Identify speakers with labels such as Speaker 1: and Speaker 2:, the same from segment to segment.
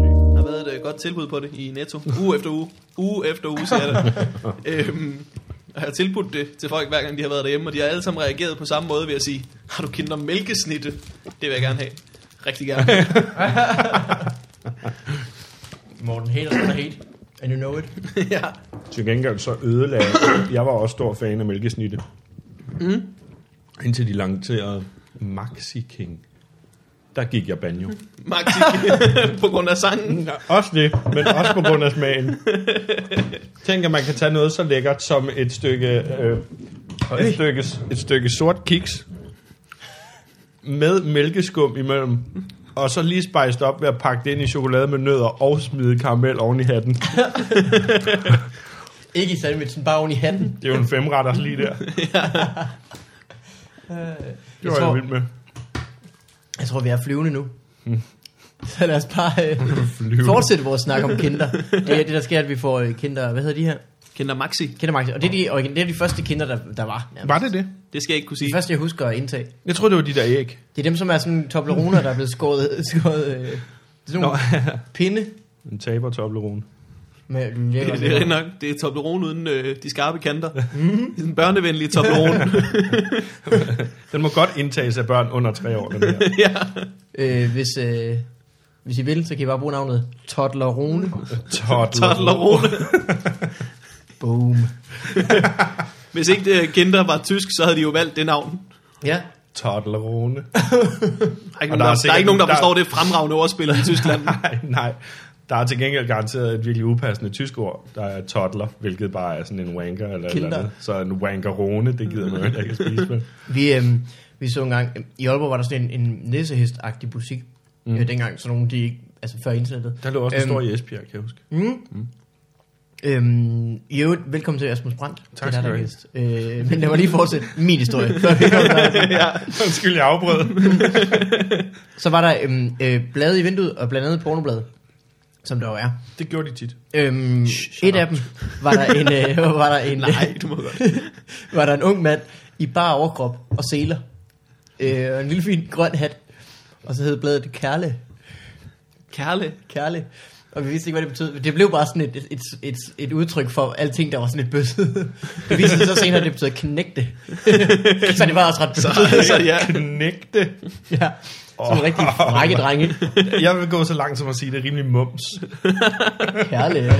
Speaker 1: øh, tilbud på det i Netto. Uge efter uge. Uge efter uge, siger jeg det. øhm, og jeg har tilbudt det til folk, hver gang de har været derhjemme, og de har alle sammen reageret på samme måde ved at sige, har du kinder mælkesnitte? Det vil jeg gerne have. Rigtig gerne.
Speaker 2: Morten, hate is gonna hate. And you know it.
Speaker 1: ja.
Speaker 3: Til gengæld så ødelagde jeg var også stor fan af mælkesnitte. Mm. Indtil de lancerede Maxi King. Der gik jeg banjo. Mm,
Speaker 1: Maxi, på grund af sangen.
Speaker 3: Ja, også det, men også på grund af smagen. Tænk, at man kan tage noget så lækkert som et stykke, øh, et stykke, et stykke sort kiks med mælkeskum imellem, og så lige spiced op ved at pakke det ind i chokolade med nødder og smide karamel oven i hatten.
Speaker 2: Ikke i sandwichen, bare oven i hatten.
Speaker 3: Det er jo en femretters lige der. Det
Speaker 2: Jeg
Speaker 3: var jeg
Speaker 2: tror,
Speaker 3: vild med.
Speaker 2: jeg tror, vi er flyvende nu.
Speaker 1: Hmm.
Speaker 2: Så lad os bare øh,
Speaker 3: Flyvende.
Speaker 2: fortsætte vores snak om kinder. Det er det, der sker, at vi får øh, kinder... Hvad hedder de her?
Speaker 1: Kinder Maxi.
Speaker 2: Kindermagsin. Og det er de, origin- det er de første kinder, der, der var. nærmest.
Speaker 3: Var det det?
Speaker 1: Det skal jeg ikke kunne
Speaker 2: De
Speaker 1: sige.
Speaker 2: første, jeg husker at indtage.
Speaker 3: Jeg tror det var de der æg.
Speaker 2: Det er dem, som er sådan Toblerone, der er blevet skåret... skåret øh, det er sådan nogle pinde
Speaker 3: En taber Toblerone.
Speaker 2: med
Speaker 1: Det,
Speaker 2: lækker.
Speaker 1: det er rigtig nok. Det er Toblerone uden øh, de skarpe kanter. Mm. Den børnevenlige Toblerone.
Speaker 3: Den må godt indtages af børn under tre år. Den her.
Speaker 1: ja.
Speaker 2: Øh, hvis, øh, hvis I vil, så kan I bare bruge navnet Toblerone.
Speaker 1: Toblerone.
Speaker 2: Boom.
Speaker 1: Hvis ikke det Kinder var tysk, så havde de jo valgt det navn.
Speaker 2: Ja,
Speaker 3: Toblerone.
Speaker 1: Der er ikke, nogen,
Speaker 3: Og der er
Speaker 1: der, der, er
Speaker 3: sikkert-
Speaker 1: ikke nogen, der
Speaker 3: der-
Speaker 1: forstår det fremragende ordspil i Tyskland.
Speaker 3: Nej, nej. Der er til gengæld garanteret et virkelig upassende tysk ord, der er toddler, hvilket bare er sådan en wanker eller et
Speaker 2: Kinder.
Speaker 3: eller andet. Så en wankerone, det gider man jo heller ikke at spise med.
Speaker 2: Vi, øh, vi så engang, øh, i Aalborg var der sådan en, en næsehest-agtig butik. Mm. Øh, dengang sådan nogle, de ikke, altså før internettet.
Speaker 3: Der lå også en
Speaker 2: Øhm.
Speaker 3: stor i Esbjerg, kan jeg huske.
Speaker 2: Mm. Mm. Øhm, I øvrigt, velkommen til Asmus Brandt.
Speaker 3: Tak
Speaker 2: Det er
Speaker 3: skal
Speaker 2: dig,
Speaker 3: du
Speaker 2: der er gæst. Øh, men lad mig lige fortsætte min historie. før vi kommer derhen.
Speaker 3: ja, undskyld, jeg afbrød.
Speaker 2: så var der øhm, øh, blade i vinduet, og blandt andet pornoblad, som der jo er.
Speaker 3: det gjorde de tit.
Speaker 2: Øhm, et af dem var der en, øh, var der en,
Speaker 1: Nej, du må godt.
Speaker 2: var der en ung mand i bare overkrop og seler. Øh, og en lille fin grøn hat. Og så hed bladet Kærle.
Speaker 1: Kærle.
Speaker 2: Kærle. Og vi vidste ikke, hvad det betød. Det blev bare sådan et, et, et, et udtryk for alting, der var sådan et bøsset. Det viste sig så senere, at det betød knægte. så det var også ret bøsset.
Speaker 1: Så ja.
Speaker 3: Knægte.
Speaker 2: Ja. Som en rigtig frække drenge.
Speaker 3: Jeg vil gå så langt som at sige, det er rimelig mums.
Speaker 2: Kærle, ja.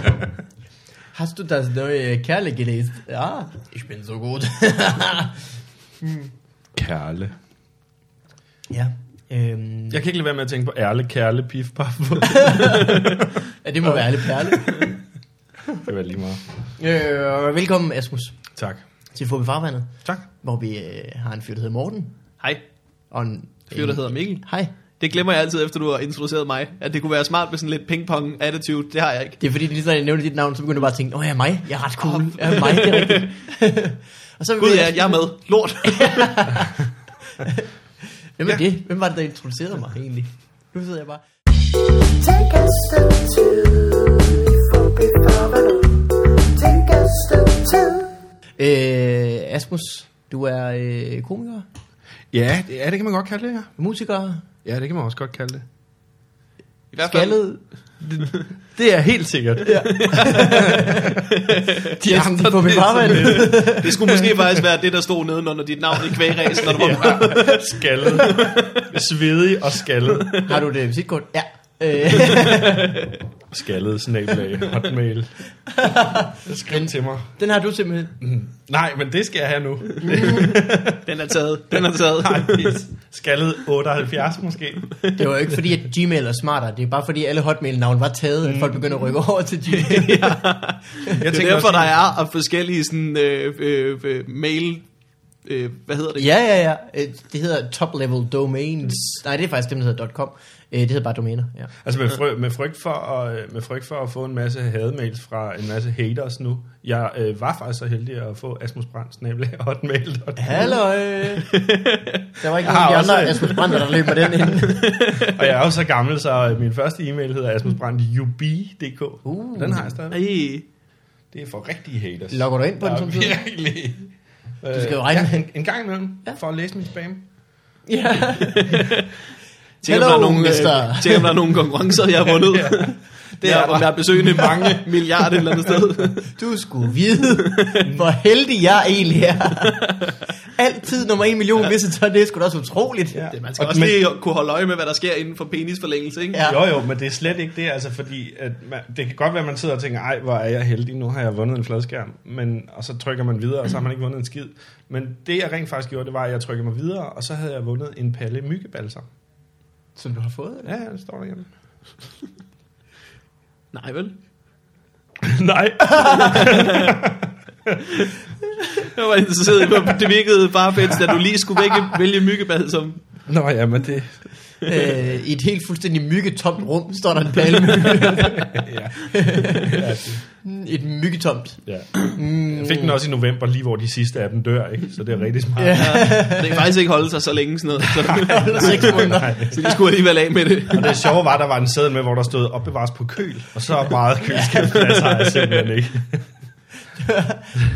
Speaker 2: Har du das neue Kærle gelæst? Ja, ich bin so gut.
Speaker 3: Kærle.
Speaker 2: ja. Øhm,
Speaker 3: Jeg kan ikke lade være med at tænke på ærle, kærle, pif, paf.
Speaker 2: ja, det må være alle perle.
Speaker 3: det var lige meget.
Speaker 2: Øh, og velkommen, Asmus,
Speaker 3: Tak.
Speaker 2: til Fubi Farvandet,
Speaker 3: Tak.
Speaker 2: hvor vi øh, har en fyr, der hedder Morten.
Speaker 1: Hej.
Speaker 2: Og en,
Speaker 1: Fyr, der hedder Mikkel.
Speaker 2: Hej.
Speaker 1: Det glemmer jeg altid, efter du har introduceret mig. At det kunne være smart med sådan lidt ping-pong attitude. Det har jeg ikke.
Speaker 2: Det er fordi, lige så jeg nævnte dit navn, så begyndte du bare at tænke, åh, jeg er mig, jeg er ret cool, jeg er mig, det er rigtigt. og så
Speaker 1: Ah, Gud ja, jeg er med. Lort.
Speaker 2: Hvem er det? Hvem var det, der introducerede mig egentlig? Nu sidder jeg bare.
Speaker 4: Take a step two for before Take a step two.
Speaker 2: Øh, Asmus, du er øh, komiker,
Speaker 3: Ja, det, ja, det kan man godt kalde det, ja.
Speaker 2: musiker,
Speaker 3: Ja, det kan man også godt kalde det.
Speaker 1: I hvert fald.
Speaker 2: skaldet,
Speaker 3: Det er helt sikkert.
Speaker 2: de andre på mit farvand.
Speaker 1: Det skulle måske faktisk være det, der stod nedenunder dit navn i kvægræsen, når du var med.
Speaker 3: skaldet. Svedig og skaldet.
Speaker 2: Har du det visitkort? Ja. Øh,
Speaker 3: Skaldet snablag hotmail. Skriv til mig. Mm.
Speaker 2: den har du simpelthen.
Speaker 3: Nej, men det skal jeg have nu.
Speaker 1: Den er taget. Den er taget.
Speaker 3: Nej, pis. Skaldet 78 måske.
Speaker 2: Det var jo ikke fordi, at Gmail er smartere. Det er bare fordi, alle hotmail-navn var taget, at folk begynder at rykke over til Gmail.
Speaker 3: Jeg
Speaker 1: Det er derfor, der er af forskellige sådan, øh, øh, øh, mail... Øh, hvad hedder det?
Speaker 2: Ja, ja, ja. Øh, Det hedder Top Level Domains. Nej, det er faktisk dem, der hedder .com. Øh, Det hedder bare domæner, ja.
Speaker 3: Altså med, fry, med, frygt for at, øh, med frygt for at få en masse hademails fra en masse haters nu. Jeg øh, var faktisk så heldig at få Asmus Brandt snablag hotmail.
Speaker 2: Hallo. Der var ikke
Speaker 3: Jeg
Speaker 2: nogen af
Speaker 3: har
Speaker 2: de
Speaker 3: også
Speaker 2: andre
Speaker 3: en.
Speaker 2: Asmus Brandt, der løb med den ind.
Speaker 3: Og jeg er jo så gammel, så øh, min første e-mail hedder asmusbrandt.ub.dk. Uh. Den har jeg stadig.
Speaker 1: Ej.
Speaker 3: Det er for rigtige haters.
Speaker 2: Logger du ind på den
Speaker 3: Der er
Speaker 2: samtidig?
Speaker 3: Virkelig. Du
Speaker 2: skal jo regne
Speaker 3: ja,
Speaker 2: med-
Speaker 3: en, en gang imellem, ja. for at læse min spam.
Speaker 2: Ja.
Speaker 1: Tænk, om der er
Speaker 2: Hello,
Speaker 1: nogle,
Speaker 2: mister.
Speaker 1: øh, tænk, om der er nogle konkurrencer, jeg har vundet. Det er, om der er besøgende mange milliarder et eller andet sted.
Speaker 2: Du skulle vide, hvor heldig jeg egentlig er. Altid nummer en million visitor, det er sgu da også utroligt. Ja.
Speaker 3: Ja.
Speaker 1: Man skal
Speaker 3: Og-
Speaker 1: også
Speaker 3: men-
Speaker 1: lige kunne holde øje med, hvad der sker inden for penisforlængelse, ikke?
Speaker 2: Ja.
Speaker 3: Jo, jo, men det er slet ikke det, altså, fordi at man, det kan godt være, at man sidder og tænker, ej, hvor er jeg heldig, nu har jeg vundet en fladskærm, men, og så trykker man videre, og så har man ikke vundet en skid. Men det, jeg rent faktisk gjorde, det var, at jeg trykkede mig videre, og så havde jeg vundet en palle myggebalser.
Speaker 2: Som du har fået, eller?
Speaker 3: Ja, ja, det står der hjemme.
Speaker 1: Nej, vel?
Speaker 3: Nej.
Speaker 1: Jeg var interesseret i, hvor det virkede bare fedt, da du lige skulle vække, vælge myggebad som...
Speaker 3: Nå ja, men det...
Speaker 2: Øh, I et helt fuldstændig myggetomt rum står der en palme.
Speaker 3: Ja.
Speaker 2: et myggetomt.
Speaker 3: ja. Jeg fik den også i november, lige hvor de sidste af dem dør, ikke? Så det er rigtig smart.
Speaker 2: Ja.
Speaker 1: Det kan faktisk ikke holde sig så længe sådan noget. Så,
Speaker 2: Seks måneder.
Speaker 1: så de skulle alligevel af med det.
Speaker 3: Og det sjove var, at der var en seddel med, hvor der stod opbevares på køl, og så meget køleskabsplads har jeg simpelthen ikke.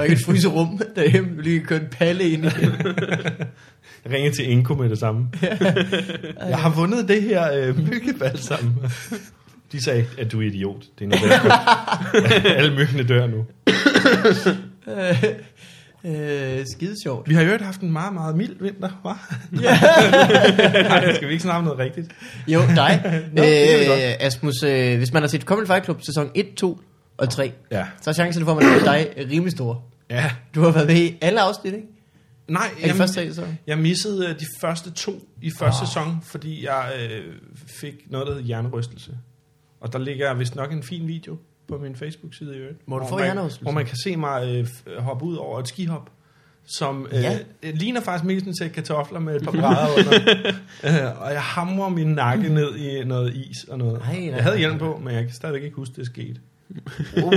Speaker 2: Og ikke et fryserum derhjemme. Du lige kan køre en palle ind i
Speaker 3: Jeg ringede til Inko med det samme. jeg har vundet det her øh, myggebalsam. De sagde, at du er idiot. Det er noget, der- Alle myggene dør nu.
Speaker 2: Øh, øh, skide sjovt.
Speaker 3: Vi har jo ikke haft en meget, meget mild vinter, hva'?
Speaker 2: Ja.
Speaker 3: Nej, skal vi ikke snakke om noget rigtigt?
Speaker 2: Jo, dig.
Speaker 3: Nå, det kan vi godt.
Speaker 2: øh, Asmus, øh, hvis man har set Comedy Fight Club sæson 1, 2 og 3,
Speaker 3: Ja.
Speaker 2: så er chancen for, at man får dig rimelig stor.
Speaker 3: Ja.
Speaker 2: Du har været med i alle afsnit, ikke?
Speaker 3: Nej,
Speaker 2: Er det første tre sæsoner?
Speaker 3: jeg missede øh, de første to i første
Speaker 2: Ah.
Speaker 3: oh. sæson, fordi jeg øh, fik noget, der hed hjernerystelse. Og der ligger vist nok en fin video på min Facebook-side i øvrigt.
Speaker 2: Hvor du får
Speaker 3: man-
Speaker 2: hjernerystelse?
Speaker 3: Hvor man kan se mig øh, f- hoppe ud over et skihop, som øh,
Speaker 2: Ja.
Speaker 3: ja. ligner faktisk mest en sæk kartofler med et par brædder under. øh, og jeg hamrer min nakke ned i noget is og noget.
Speaker 2: Nej, nej,
Speaker 3: jeg havde
Speaker 2: nej,
Speaker 3: hjelm på, men jeg kan stadigvæk ikke huske, det skete.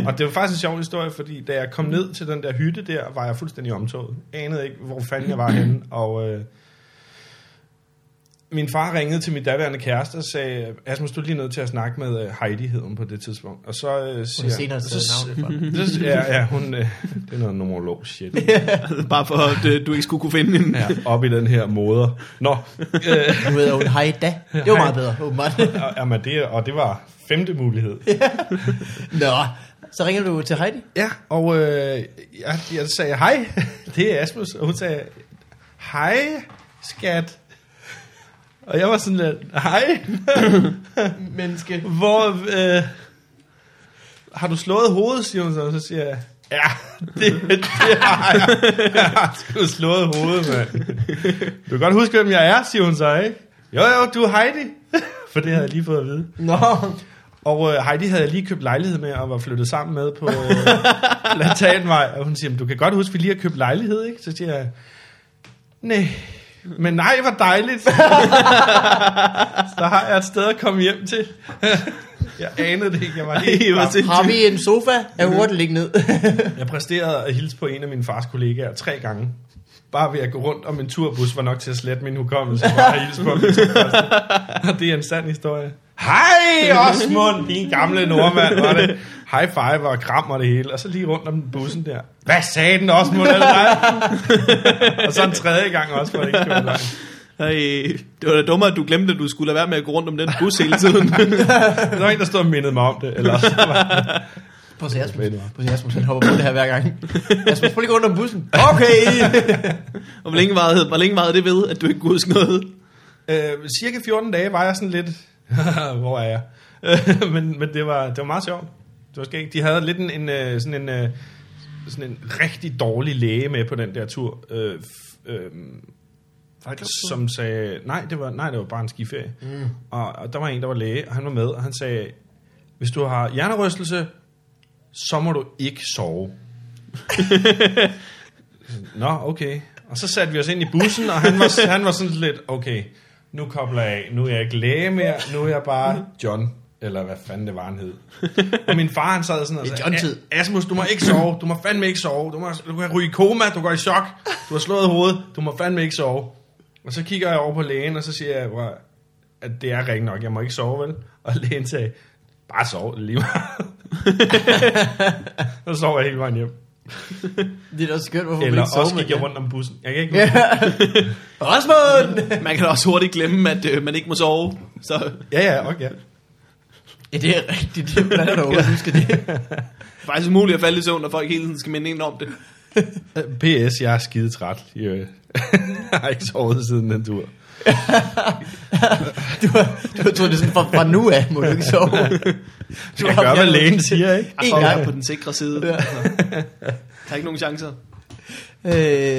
Speaker 3: og det var faktisk en sjov historie, fordi da jeg kom ned til den der hytte der, var jeg fuldstændig omtoget. Anede ikke, hvor fanden jeg var henne, og... Øh, min far ringede til min daværende kæreste og sagde, Asmus, du er lige nødt til at snakke med øh, Heidi, hed hun på det tidspunkt. Og så øh, siger...
Speaker 2: senere
Speaker 3: så,
Speaker 2: taget
Speaker 3: så, så, ja, ja, hun... Øh, det er noget numerolog shit.
Speaker 1: Bare for, at øh, du ikke skulle kunne finde en...
Speaker 3: Ja, op i den her moder. Nå, øh,
Speaker 2: Du hedder jo Hej Da. Det var meget bedre, åbenbart.
Speaker 3: og, jamen, det, og det var femte mulighed.
Speaker 2: Nå, så ringer du til Heidi.
Speaker 3: Ja, og øh, jeg, jeg sagde, hej, det er Asmus. Og hun sagde, hej, skat. Og jeg var sådan lidt, hej.
Speaker 2: Menneske.
Speaker 3: Hvor, øh, har du slået hovedet, siger hun så, og så siger jeg, ja, det, det har jeg. Jeg har sgu slået hovedet, mand. Du kan godt huske, hvem jeg er, siger hun så, ikke? Jo, jo, du er Heidi. For det havde jeg lige fået at vide.
Speaker 2: Nå,
Speaker 3: Og øh, Heidi havde jeg lige købt lejlighed med og var flyttet sammen med på øh, Platanvej. Og hun siger, "Men du kan godt huske, at vi lige har købt lejlighed, ikke? Så siger jeg, nej, men nej, hvor dejligt. så har jeg et sted at komme hjem til. jeg anede det ikke, jeg var helt
Speaker 1: var
Speaker 3: var
Speaker 2: har vi en sofa? Er
Speaker 3: Mm-hmm.
Speaker 2: hurtigt ligge ned.
Speaker 3: Jeg præsterede at hilse på en af mine fars kollegaer tre gange. Bare ved at gå rundt om en turbus var nok til at slette min hukommelse bare at hilse på min togkast. Og det er en sand historie. Hej Osmund, din gamle nordmand, var det. High five og kram og det hele. Og så lige rundt om bussen der. Hvad sagde den Osmund, er det dig? og så en tredje gang også, for det ikke skulle være løgn.
Speaker 1: Ej, det var da dummere, at du glemte, at du skulle lade være med at gå rundt om den bus hele tiden.
Speaker 3: Der var en, der stod og mindede mig om det. Eller også var det
Speaker 2: Prøv at se Asmus. Prøv at se Asmus, han hopper på det her hver gang. Asmus, prøv lige gå under bussen. Okay.
Speaker 1: Og hvor længe varede, hvor længe varede det ved, at du ikke kunne huske noget?
Speaker 3: Øh, cirka 14 dage var jeg sådan lidt, hvor er jeg? men men det, var, det var meget sjovt. Det var skægt. De havde lidt en, en øh, sådan en, øh, sådan en rigtig dårlig læge med på den der tur. Øh, f- øh, som sagde, nej det, var, nej, det var bare en skiferie. Mm. Og, og der var en, der var læge, og han var med, og han sagde, hvis du har hjernerystelse, så må du ikke sove. Nå, okay. Og så satte vi os ind i bussen, og han var, han var sådan lidt, okay, nu kobler jeg af. Nu er jeg ikke læge mere, nu er jeg bare John, eller hvad fanden det var, han hed. Og min far, han sad sådan og
Speaker 2: Det er
Speaker 3: sagde,
Speaker 2: John-tid.
Speaker 3: "A- Asmus, du må ikke sove, du må fandme ikke sove, du, må, du kan ryge i koma, du går i chok, du har slået hovedet, du må fandme ikke sove. Og så kigger jeg over på lægen, og så siger jeg, "Prøv at- at det er rigtigt nok, jeg må ikke sove, vel? Og lægen sagde, bare sov lige meget. så sov jeg hele vejen hjem.
Speaker 2: Det er da også skørt, hvorfor
Speaker 3: Eller
Speaker 2: man ikke
Speaker 3: også
Speaker 2: sover.
Speaker 3: gik jeg rundt om bussen. Jeg kan ikke
Speaker 2: Ja. Osmund!
Speaker 1: Man kan da også hurtigt glemme, at øh, man ikke må sove. Så
Speaker 3: Ja, ja, okay.
Speaker 2: Ja, det er rigtigt. Det er blandt andet at huske det.
Speaker 1: Faktisk umuligt at falde i søvn, når folk hele tiden skal minde en om det.
Speaker 3: P.S. Øh, Jeg er skide træt. i øvrigt. Jeg har ikke sovet siden den tur.
Speaker 2: Du har, du har troet det er sådan, fra, fra nu af må du ikke sove. Du
Speaker 3: Jeg
Speaker 2: har
Speaker 3: gør, hvad
Speaker 2: fjernet-
Speaker 3: lægen siger, ikke?
Speaker 1: En
Speaker 2: En
Speaker 1: gang.
Speaker 2: gang.
Speaker 1: på den sikre side.
Speaker 2: Ja.
Speaker 1: Der er ikke nogen chancer.
Speaker 2: Øh,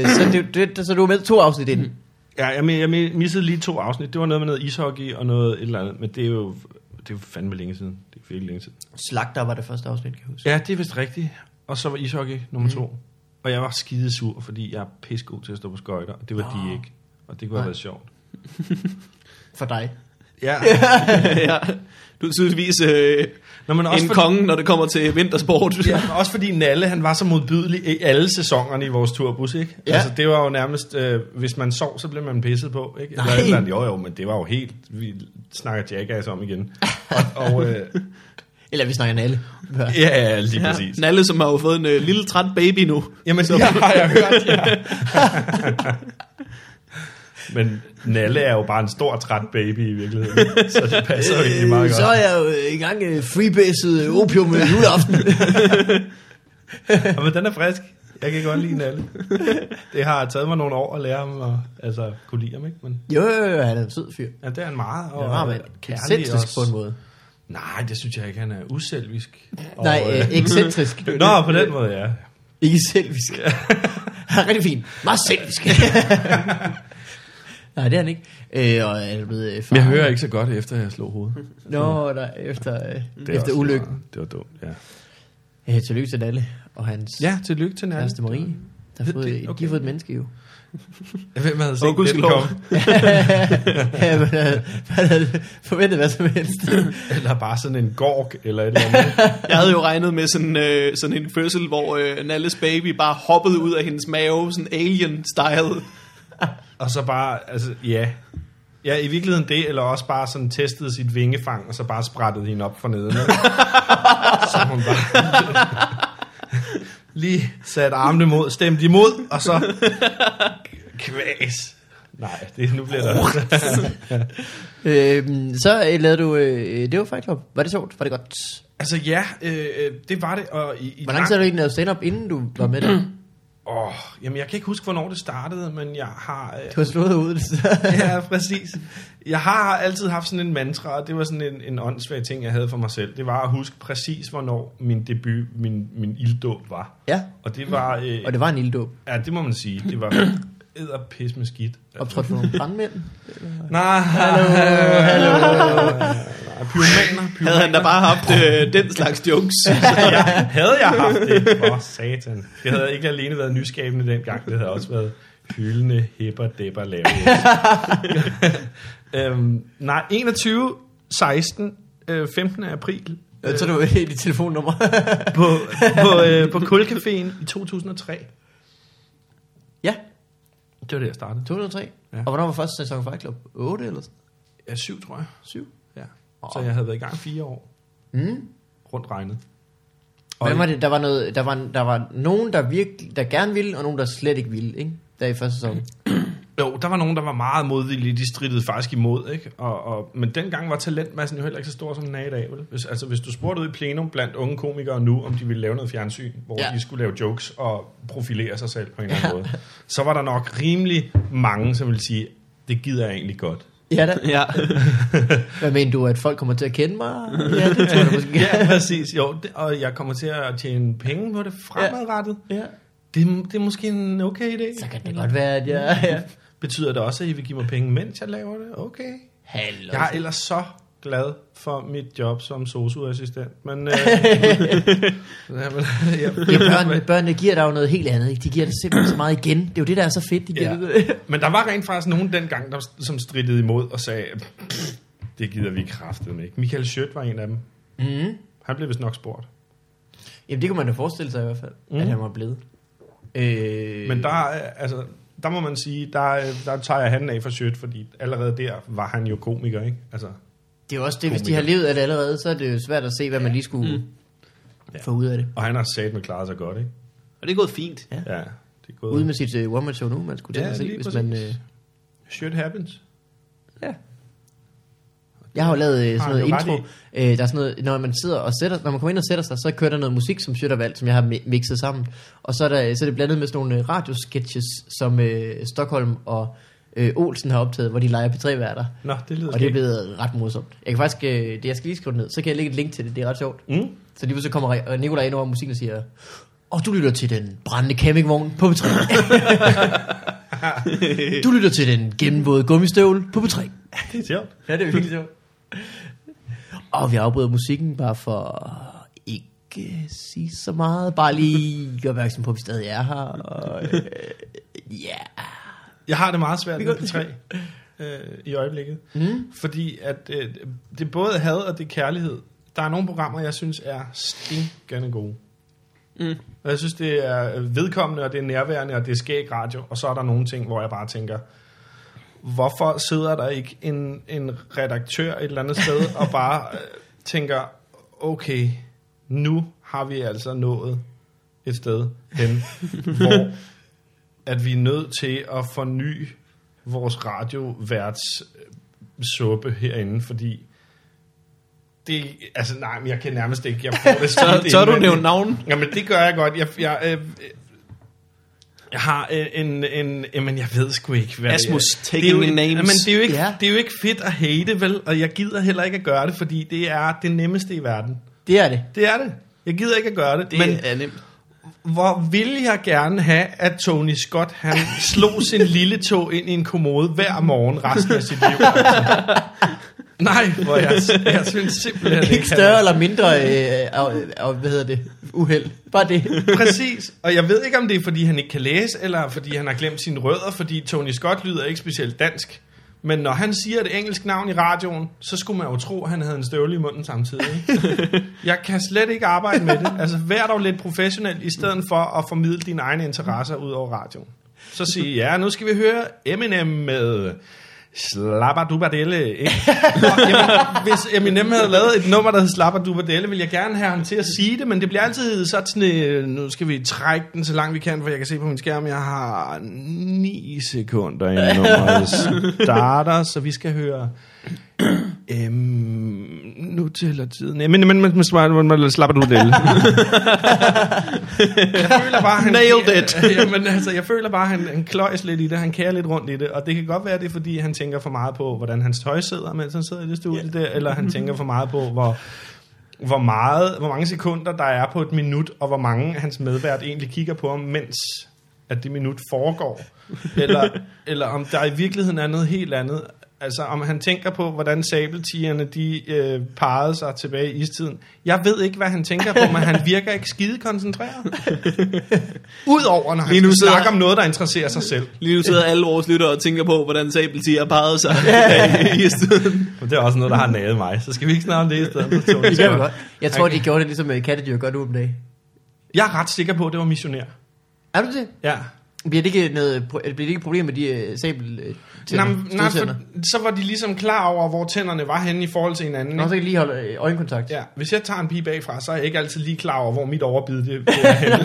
Speaker 2: så, det, det, så du er med to afsnit inden.
Speaker 3: Ja, jeg, men, jeg men- missede lige to afsnit. Det var noget med noget ishockey og noget et eller andet. Men det er jo, det er jo fandme længe siden. Det er virkelig længe siden.
Speaker 2: Slagter var det første afsnit, kan jeg huske.
Speaker 3: Ja, det er vist rigtigt. Og så var ishockey nummer mm. to. Og jeg var skide sur, fordi jeg er pissegod til at stå på skøjter. Og det var
Speaker 2: Nå.
Speaker 3: de ikke. Og det kunne have
Speaker 2: Nej.
Speaker 3: været sjovt.
Speaker 2: For dig.
Speaker 3: Ja,
Speaker 1: ja. Du er tydeligvis øh,
Speaker 3: Nå, men også
Speaker 1: en
Speaker 3: fordi,
Speaker 1: konge, når det kommer til vintersport.
Speaker 3: ja, men også fordi Nalle, han var så modbydelig i alle sæsonerne i vores turbus, ikke?
Speaker 2: Ja.
Speaker 3: Altså, det var jo nærmest, øh, hvis man sov, så blev man pisset på, ikke? Eller
Speaker 2: Nej.
Speaker 3: et Eller andet. jo, jo, men det var jo helt, vi snakker jackass om igen. Og, og øh,
Speaker 2: Eller vi snakker alle.
Speaker 3: ja, lige
Speaker 1: Ja.
Speaker 3: præcis.
Speaker 1: Nalle, som har jo fået en øh, lille træt baby nu.
Speaker 3: Jamen, så har jeg hørt, ja. Men Nalle er jo bare en stor, træt baby i virkeligheden, så det passer jo egentlig meget
Speaker 2: så
Speaker 3: godt.
Speaker 2: er jeg jo øh, i gang øh, freebaset øh, opium øh, juleaften.
Speaker 3: Ja, men den er frisk. Jeg kan godt lide Nalle. Det har taget mig nogle år at lære ham at altså, kunne lide ham, ikke? Men
Speaker 2: jo, jo, jo, han er en sød fyr.
Speaker 3: ja, det er han meget. Og øh,
Speaker 2: Han var mand.
Speaker 3: kærlig
Speaker 2: Ekscentrisk på
Speaker 3: også.
Speaker 2: en måde.
Speaker 3: Nej, det synes jeg ikke. Han er uselvisk. Og,
Speaker 2: Nej,
Speaker 3: øh,
Speaker 2: øh, ekscentrisk.
Speaker 3: Nå, på den måde, ja.
Speaker 2: Ikke selvisk. Han er rigtig fin. Meget selvisk. nej, det er han ikke. Øh, og er blevet øh, far.
Speaker 5: Jeg hører ikke så godt, efter jeg slog hovedet.
Speaker 2: Nå, nej, efter, øh,
Speaker 3: Det er
Speaker 2: efter
Speaker 3: også-
Speaker 2: ulykken.
Speaker 3: Det var dumt, ja.
Speaker 2: Øh, tillykke til Dalle og hans ja.
Speaker 5: Ja, tillykke til Nalle.
Speaker 2: kæreste Marie. Der har fået,
Speaker 3: Det-
Speaker 2: okay.
Speaker 3: okay.
Speaker 2: De har fået et menneske jo.
Speaker 3: Hvem havde
Speaker 1: Åh,
Speaker 3: set
Speaker 1: Gud
Speaker 3: den
Speaker 1: skal lov.
Speaker 3: komme?
Speaker 2: ja, man havde, øh, man havde forventet hvad som helst.
Speaker 3: Eller bare sådan en gorg, eller et eller andet.
Speaker 1: Jeg havde jo regnet med sådan, øh, sådan en fødsel, hvor øh, Nalles baby bare hoppede ud af hendes mave, sådan alien-style.
Speaker 3: Og så bare, altså, ja. Ja, i virkeligheden det, eller også bare sådan testede sit vingefang, og så bare sprættede hende op for neden. ikke? så hun bare... lige satte armene mod, stemte imod, og så... Kvæs. Nej, det, altså- nu bliver der...
Speaker 2: øhm, så øh, lavede du, øh, det var Fight Club. Var det sjovt? Var det godt?
Speaker 3: altså ja, øh, øh, det var det, og i... i
Speaker 2: Hvor lang tid har du egentlig lavet stand-up, inden du var med der?
Speaker 3: Åh, jamen jeg kan ikke huske, hvornår det startede, men jeg har... Øh,
Speaker 2: Du har slået ud.
Speaker 3: ja, præcis. Jeg har altid haft sådan en mantra, og det var sådan en, en åndssvag ting, jeg havde for mig selv. Det var at huske præcis, hvornår min debut, min, min ilddåb var.
Speaker 2: ja,
Speaker 3: Og det var, øh,
Speaker 2: og det var en lille dåb.
Speaker 3: ja, det må man sige, det var edderpis med skidt.
Speaker 2: Optrådt for nogle brandmænd.
Speaker 3: Nej, hallo, hallo. Pyromaner,
Speaker 1: Havde han da
Speaker 3: pyromaner.
Speaker 1: bare haft øh, den slags jokes.
Speaker 3: ja, havde jeg haft det, for satan. Det havde ikke alene været nyskabende dengang, det havde også været hyldende, hæpper, dæpper, lave. øhm, nej, 21, 16, øh, 15. april øh,
Speaker 2: Jeg tror, du var helt i telefonnummer.
Speaker 3: på, på, øh, på Kulcaféen i 2003.
Speaker 2: ja,
Speaker 3: Det var det, jeg startede.
Speaker 2: 203.
Speaker 3: Ja.
Speaker 2: Ja. Og hvornår var første sæson Fight Club? 8 eller sådan?
Speaker 3: Ja, syv, tror jeg.
Speaker 2: 7?
Speaker 3: Ja. Så jeg havde været i gang fire år
Speaker 2: Mm.
Speaker 3: rundt regnet.
Speaker 2: Hvad var det? Der var, noget, der var, der var nogen, der, virkelig, der gerne ville, og nogen, der slet ikke ville, ikke? Der i første sæson.
Speaker 3: Jo, der var nogen, der var meget modvillige. De strittede faktisk imod, ikke? Og, og, men dengang var talentmassen jo heller ikke så stor, som den er i dag, vel? Hvis, altså, hvis du spurgte ud i plenum blandt unge komikere nu, om de ville lave noget fjernsyn, hvor
Speaker 2: Ja.
Speaker 3: ja. de skulle lave jokes og profilere sig selv på en eller anden måde, så var der nok rimelig mange, som ville sige, det gider jeg egentlig godt.
Speaker 2: Ja, da.
Speaker 1: ja.
Speaker 2: Hvad mener du, at folk kommer til at kende mig? Ja, det tror jeg måske.
Speaker 3: Ja, præcis. Jo, det, og jeg kommer til at tjene penge på det fremadrettet.
Speaker 2: ja.
Speaker 3: Det, er- det er måske en okay idé.
Speaker 2: Så kan det godt være, at jeg... Ja.
Speaker 3: Betyder det også, at I vil give mig penge, mens jeg laver det? Okay.
Speaker 2: Hallo.
Speaker 3: Jeg er ellers så glad for mit job som socioassistent, men øh, jamen, jeg,
Speaker 2: Ja, børnene, børnene giver dig jo noget helt andet, ikke? De giver dig simpelthen så meget igen. Det er jo det, der er så fedt, de giver
Speaker 3: Ja.
Speaker 2: det.
Speaker 3: men der var rent faktisk nogen dengang, der, som strittede imod og sagde, "Pff, det gider vi kraftedeme ikke. Michael Schødt var en af dem.
Speaker 2: Mm.
Speaker 3: Han blev vist nok spurgt.
Speaker 2: Jamen, det kunne man da forestille sig i hvert fald, mm. at han var blevet. Øh,
Speaker 3: Men der, øh, altså, der må man sige, der, øh, der tager jeg handen af for Schødt, fordi allerede der var han jo komiker, ikke? Altså,
Speaker 2: Det er jo også det, hvis de har levet af det allerede, så er det jo svært at se, hvad man lige skulle mm. få ud af det.
Speaker 3: og han har sat med klaret sig godt, ikke?
Speaker 1: Og det er gået fint.
Speaker 3: Ja, det er gået.
Speaker 2: Ude med sit uh, one-man show nu, man skulle tænke
Speaker 3: Ja,
Speaker 2: at se,
Speaker 3: lige
Speaker 2: hvis
Speaker 3: præcis.
Speaker 2: man... Øh,
Speaker 3: Shit happens.
Speaker 2: ja. Jeg har jo lavet øh,
Speaker 3: Har
Speaker 2: sådan noget
Speaker 3: han jo
Speaker 2: intro.
Speaker 3: ret
Speaker 2: Øh, der er sådan noget, når man sidder og sætter, når man kommer ind og sætter sig, så kører der noget musik, som Sjøt har valgt, som jeg har mi- mixet sammen. Og så er, der, så er det blandet med sådan nogle øh, radiosketches, som øh, Stockholm og øh, Olsen har optaget, hvor de leger P3-værter.
Speaker 3: Nå, det lyder
Speaker 2: Og det er
Speaker 3: skægt.
Speaker 2: blevet ret morsomt. Jeg kan faktisk, øh, det jeg skal lige skrive det ned, så kan jeg lægge et link til det, det er ret sjovt.
Speaker 3: Mm.
Speaker 2: Så lige pludselig kommer Re- øh, Nicolaj ind over musikken og siger, og du lytter til den brændende campingvogn på P3. du lytter til den gennemvåde gummistøvle på P3.
Speaker 3: Det er sjovt.
Speaker 2: Ja, det er virkelig sjovt. Og vi afbryder musikken bare for ikke sige så meget. Bare lige gøre opmærksom på, at vi stadig er her. Og, øh, yeah.
Speaker 3: Jeg har det meget svært med P3 øh, i øjeblikket. Mm. Fordi at øh, det er både had og det er kærlighed. Der er nogle programmer, jeg synes er stinkende gode.
Speaker 1: Mm.
Speaker 3: Og jeg synes, det er vedkommende, og det er nærværende, og det er skæg radio. Og så er der nogle ting, hvor jeg bare tænker, hvorfor sidder der ikke en, en redaktør et eller andet sted og bare øh, tænker, okay, nu har vi altså nået et sted hen, hvor at vi er nødt til at forny vores radioværts øh, suppe herinde, fordi det, altså nej, men jeg kan nærmest ikke, jeg får det
Speaker 1: Tør,
Speaker 3: skidt
Speaker 1: tør du
Speaker 3: indvendigt.
Speaker 1: nævne navn?
Speaker 3: Jamen, det gør jeg godt. Jeg, jeg, øh, øh, jeg har øh, en, en, jamen, jeg ved sgu ikke, hvad
Speaker 1: Asmus,
Speaker 3: det er.
Speaker 1: taking
Speaker 3: Det er jo,
Speaker 1: the names.
Speaker 3: Jamen, det er, jo ikke,
Speaker 2: Ja.
Speaker 3: det er jo ikke fedt at hate, vel? Og jeg gider heller ikke at gøre det, fordi det er det nemmeste i verden.
Speaker 2: Det er det.
Speaker 3: Det er det. Jeg gider ikke at gøre det.
Speaker 1: Det
Speaker 3: men
Speaker 1: er nemt.
Speaker 3: hvor ville jeg gerne have, at Tony Scott, han slog sin lille tog ind i en kommode hver morgen resten af sit liv. altså. Nej, hvor jeg, jeg synes simpelthen
Speaker 2: Ikke
Speaker 3: han er-
Speaker 2: større eller mindre, øh, og, og, hvad hedder det, uheld. Bare det.
Speaker 3: Præcis, og jeg ved ikke, om det er, fordi han ikke kan læse, eller fordi han har glemt sine rødder, fordi Tony Scott lyder ikke specielt dansk. Men når han siger et engelsk navn i radioen, så skulle man jo tro, at han havde en støvle i munden samtidig. ikke? jeg kan slet ikke arbejde med det. Altså, vær dog lidt professionel, i stedet for at formidle dine egne interesser ud over radioen. Så sig, ja, nu skal vi høre Eminem med Slapper du Bardelle, ikke? Nå, Jamen, hvis Eminem havde lavet et nummer, der hed Slapper du Bardelle, ville jeg gerne have ham til at sige det, men det bliver altid sådan, øh, nu skal vi trække den så langt vi kan, for jeg kan se på min skærm, jeg har 9 sekunder, inden nummeret starter, så vi skal høre... Øhm, nu tæller tiden. Men, men, men, men, men, men slapper du det? jeg føler bare, han...
Speaker 1: Nailed it.
Speaker 3: Jamen, altså, jeg føler bare, han, han kløjes lidt i det, han kærer lidt rundt i det, og det kan godt være, det er, fordi han tænker for meget på, hvordan hans tøj sidder, mens han sidder i det studie yeah. der, eller han tænker for meget på, hvor, hvor, meget, hvor mange sekunder der er på et minut, og hvor mange hans medvært egentlig kigger på ham, mens at det minut foregår. Eller, eller om der i virkeligheden er noget helt andet. Altså om han tænker på, hvordan sabeltigerne de øh, parrede sig tilbage i istiden. Jeg ved ikke, hvad han tænker på, men han virker ikke skide koncentreret. Udover når han
Speaker 1: Lige nu
Speaker 3: skal
Speaker 1: sidder-
Speaker 3: snakke om noget, der interesserer sig selv.
Speaker 1: Lige nu sidder alle vores lyttere og tænker på, hvordan sabeltiger parrede sig i stedet.
Speaker 3: Men det er også noget, der har naget mig, så skal vi ikke snakke om det i stedet. For
Speaker 2: Det kan vi godt. Jeg tror, de gjorde det ligesom øh, kattedyr gør nu om dagen.
Speaker 3: Jeg er ret sikker på, at det var missionær.
Speaker 2: Er du det?
Speaker 3: Ja,
Speaker 2: Bliver det ikke, noget, pro- bliver det ikke et problem med de øh, sabel øh,
Speaker 3: Nej,
Speaker 2: tænder,
Speaker 3: nej, for,
Speaker 2: stødtænder?
Speaker 3: så var de ligesom klar over, hvor tænderne var henne i forhold til hinanden.
Speaker 2: Nå, så
Speaker 3: Ikke?
Speaker 2: kan de lige holde øh, øjenkontakt.
Speaker 3: Ja, hvis jeg tager en pige bagfra, så er jeg ikke altid lige klar over, hvor mit overbid det det er henne.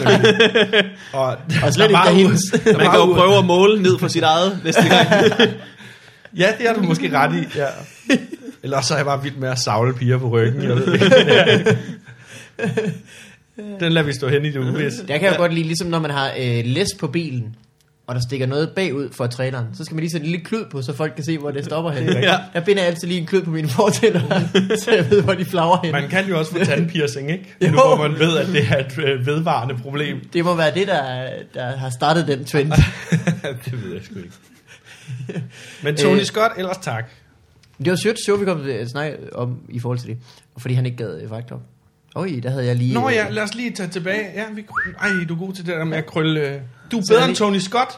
Speaker 3: og,
Speaker 2: Og slet ikke
Speaker 3: der var
Speaker 2: der
Speaker 3: u-
Speaker 2: hendes.
Speaker 3: der
Speaker 1: Man
Speaker 3: var
Speaker 1: kan jo
Speaker 3: u-
Speaker 1: prøve at måle ned for sit eget næste gang.
Speaker 3: Ja, det har du måske ret i. Ja. Eller så er jeg bare vild med at savle piger på ryggen. Jeg ved ikke. Den lader vi stå hen i det uvis.
Speaker 2: Der kan jeg jo godt lide, ligesom når man har øh, læs på bilen, og der stikker noget bagud for traileren, så skal man lige sætte en lille klød på, så folk kan se, hvor det stopper henne.
Speaker 1: rigtigt.
Speaker 2: Ja. Jeg binder altid lige en klød på mine fortænder, så jeg ved, hvor de flager henne.
Speaker 3: Man
Speaker 2: Man...
Speaker 3: kan jo også få tandpiercing, ikke? Nu
Speaker 2: Jo.
Speaker 3: hvor man ved, at det er et øh, vedvarende problem.
Speaker 2: Det må være det, der, der har startet den trend.
Speaker 3: det ved jeg sgu ikke. Men Tony
Speaker 2: Øh.
Speaker 3: Scott, ellers tak.
Speaker 2: Men Det var sødt show, vi kom til at snakke om i forhold til det. Fordi han ikke gad øh, Factor. Oj, der havde jeg lige...
Speaker 3: Nå
Speaker 2: øh,
Speaker 3: ja, lad os lige tage tilbage. Ja, vi, ej, du er god til det der med at krølle. øh. Du er
Speaker 2: Så er
Speaker 3: bedre end
Speaker 2: det-
Speaker 3: Tony Scott.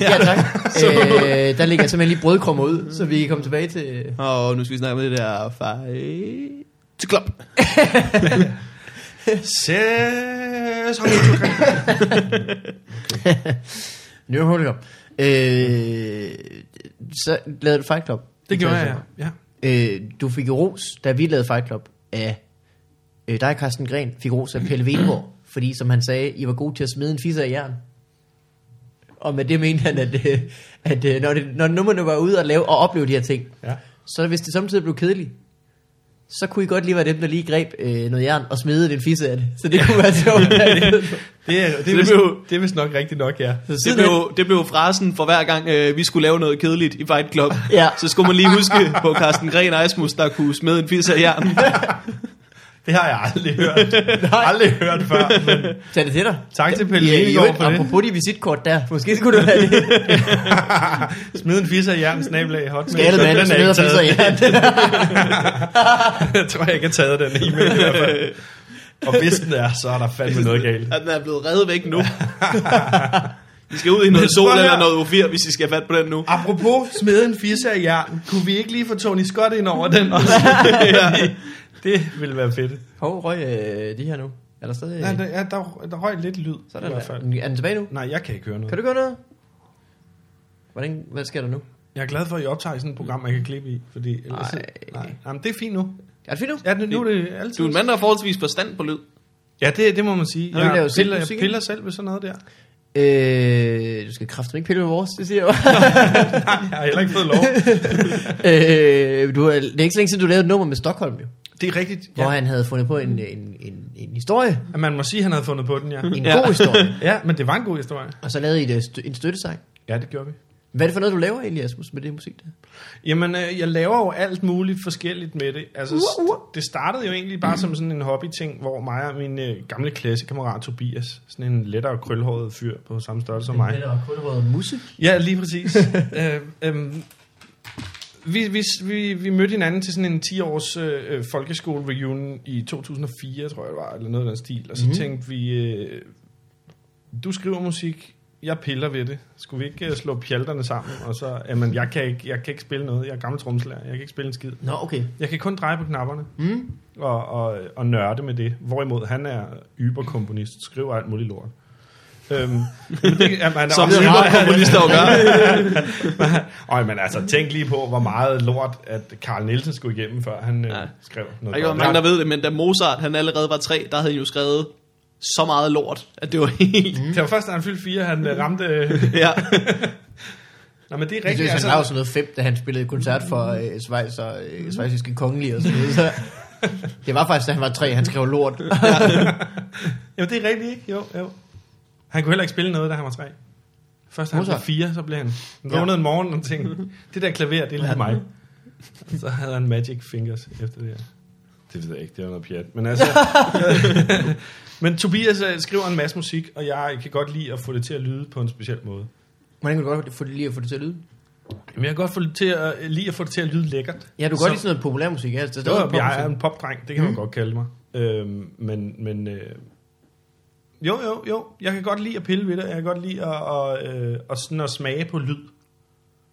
Speaker 2: Ja, tak. øh, der ligger jeg simpelthen lige brødkrummer ud, så vi kan komme tilbage til... øh,
Speaker 1: Og oh, nu skal vi snakke med det der fej... Til klop.
Speaker 3: Sæson
Speaker 2: New Hold Club. Øh, så lavede du Fight Club.
Speaker 3: Det gjorde jeg, ja. ja.
Speaker 2: Øh, du fik jo ros, da vi lavede Fight Club, af øh, dig, Carsten Gren, fik ros af Pelle Venborg, fordi, som han sagde, I var gode til at smide en fisse af jern. Og med det mente han, at, øh, at øh, når, det, når nummerne var ude og lave og opleve de her ting,
Speaker 3: Ja.
Speaker 2: så hvis det samtidig blev kedeligt, så kunne I godt lige være dem, der lige greb øh, noget jern og smedede en fisse af det. Så det kunne være sjovt.
Speaker 3: Det er, det, er
Speaker 1: det
Speaker 3: vist,
Speaker 1: blev-
Speaker 3: det er vist nok rigtigt nok, ja.
Speaker 2: Så
Speaker 1: Det
Speaker 2: siden hen-
Speaker 1: blev, det blev frasen for hver gang, øh, vi skulle lave noget kedeligt i Fight Club.
Speaker 2: Ja.
Speaker 1: Så skulle man lige huske på Carsten Gren Eismus, der kunne smide en pisse af jern.
Speaker 3: Det har jeg aldrig hørt. aldrig hørt før. Men
Speaker 2: Tag det til dig.
Speaker 3: tak til Pelle
Speaker 2: Ja, i
Speaker 3: Lillegaard
Speaker 2: øvrigt,
Speaker 3: for det.
Speaker 2: apropos de visitkort der, måske skulle du have det.
Speaker 3: Smid en fisser i jern, snablag, hotmail.
Speaker 2: Skalet
Speaker 3: Så
Speaker 2: mand,
Speaker 3: den
Speaker 2: der
Speaker 3: er ikke
Speaker 2: smider pisser i
Speaker 3: taget.
Speaker 2: jern.
Speaker 3: Jeg tror jeg ikke har taget den e-mail i hvert fald. Og hvis den er, så er der fandme noget galt.
Speaker 1: At den er blevet reddet væk nu. I skal ud i noget sol
Speaker 3: prøv at
Speaker 1: eller
Speaker 3: høre.
Speaker 1: noget O4, hvis I skal have fat på den nu.
Speaker 3: Apropos smide en fisse af jern, kunne vi ikke lige få Tony Scott ind over den også? ja. Det ville være fedt.
Speaker 2: Hov, røg øh, de her nu. Er der stadig...
Speaker 3: Nej, der, ja, der, der røg lidt lyd.
Speaker 2: Øh. Sådan
Speaker 3: i hvert fald.
Speaker 2: der. Er den tilbage nu?
Speaker 3: Nej, jeg kan ikke høre noget.
Speaker 2: Kan du gøre noget? Hvordan, hvad sker der nu?
Speaker 3: Jeg er glad for, at I optager sådan et program, man kan klippe i. Fordi ellers,
Speaker 2: Ej.
Speaker 3: nej. Jamen, det er fint nu.
Speaker 2: Er det fint nu?
Speaker 3: Ja, nu, nu er det altid.
Speaker 1: Du er en mand, der har forholdsvis forstand på lyd.
Speaker 3: Ja, det, det må man sige.
Speaker 2: Har du ikke
Speaker 3: Jeg
Speaker 2: lavet selv
Speaker 3: piller, jeg
Speaker 2: musik i?
Speaker 3: piller selv ved sådan noget der.
Speaker 2: Øh, du skal kraftigt ikke pille ved vores, det siger jeg jo.
Speaker 3: Jeg har heller ikke fået lov.
Speaker 2: øh, du, har- det er ikke så længe siden, du lavede et nummer med Stockholm, jo.
Speaker 3: Det er rigtigt.
Speaker 2: Hvor
Speaker 3: Ja.
Speaker 2: han havde fundet på en, en, en, en historie.
Speaker 3: At Man må sige, at han havde fundet på den, ja.
Speaker 2: En
Speaker 1: Ja.
Speaker 2: god historie.
Speaker 3: Ja, men det var en god historie.
Speaker 2: Og så lavede I et, øh, stø- en støttesang.
Speaker 3: Ja, det gjorde vi.
Speaker 2: Hvad er det for noget, du laver egentlig, Asmus, med det musik der?
Speaker 3: Jamen, øh, jeg laver jo alt muligt forskelligt med det. Altså,
Speaker 2: Ur, ur.
Speaker 3: st- det startede jo egentlig bare som sådan en hobbyting, hvor mig og min øh, gamle klassekammerat Tobias, sådan en lettere krølhåret fyr på samme størrelse som mig.
Speaker 2: Eller kulderød musse.
Speaker 3: Ja, lige præcis. øh, øhm, vi, vi, vi, vi mødte hinanden til sådan en 10-års øh, folkeskole-reunion i 2004, tror jeg det var, eller noget af den stil. Og så mm. tænkte vi, øh, du skriver musik, jeg piller ved det. Skulle vi ikke øh, slå pjalterne sammen? Og så, jamen, jeg kan ikke, jeg kan ikke spille noget. Jeg er gammel tromslærer. Jeg kan ikke spille en skid.
Speaker 2: Nå, okay.
Speaker 3: Jeg kan kun dreje på knapperne
Speaker 2: Mm.
Speaker 3: og, og, og nørde med det. Hvorimod han er yberkomponist, skriver alt muligt lort. Øhm, men det, jamen, han er
Speaker 1: Som
Speaker 3: også-
Speaker 1: yberkomponister jo gør.
Speaker 3: Øj, men altså, tænk lige på, hvor meget lort, at Carl Nielsen skulle igennem, før han øh,
Speaker 1: Ja.
Speaker 3: skrev
Speaker 1: Der er
Speaker 3: noget.
Speaker 1: ikke
Speaker 3: dårligt.
Speaker 1: mange, der ved det, men da Mozart han allerede var tre, der havde han jo skrevet så meget lort, at det var helt...
Speaker 3: Det var først, da han fyldte fire, han øh, ramte... Øh,
Speaker 1: Ja.
Speaker 3: nej, men det er
Speaker 2: Jeg synes,
Speaker 3: rigtigt.
Speaker 2: han lavede
Speaker 3: Altså,
Speaker 2: sådan noget fedt, da han spillede koncert for øh, Schweiz og øh, svejsiske kongelige og sådan noget. Så det var faktisk, da han var tre, han skrev lort.
Speaker 3: jamen, det er rigtigt, ikke? Jo, jo. Han kunne heller ikke spille noget, da han var tre. Først da han var
Speaker 2: Mozart.
Speaker 3: fire, så blev han... Han
Speaker 2: Ja.
Speaker 3: vågnede en morgen og tænkte, det der klaver, det er lige mig. Så havde han magic fingers efter det her. Det ved jeg ikke, det er noget pjat. Men altså... men Tobias øh, skriver en masse musik, og jeg kan godt lide at få det til at lyde på en speciel måde.
Speaker 2: Hvordan kunne du godt få det, lige at få det til at lyde?
Speaker 3: Jamen, jeg kan godt få det til at, lige at få det til at lyde lækkert.
Speaker 2: Ja, du kan godt
Speaker 3: Så-
Speaker 2: lide sådan noget Mm. populærmusik. Ja, Altså, det
Speaker 3: Jo,
Speaker 2: er
Speaker 3: jo, jeg er en popdreng, det kan man godt kalde mig. Øhm, men men øh, jo, jo, jo, jeg kan godt lide at pille ved det, jeg kan godt lide at, at, øh, at, sådan at smage på lyd.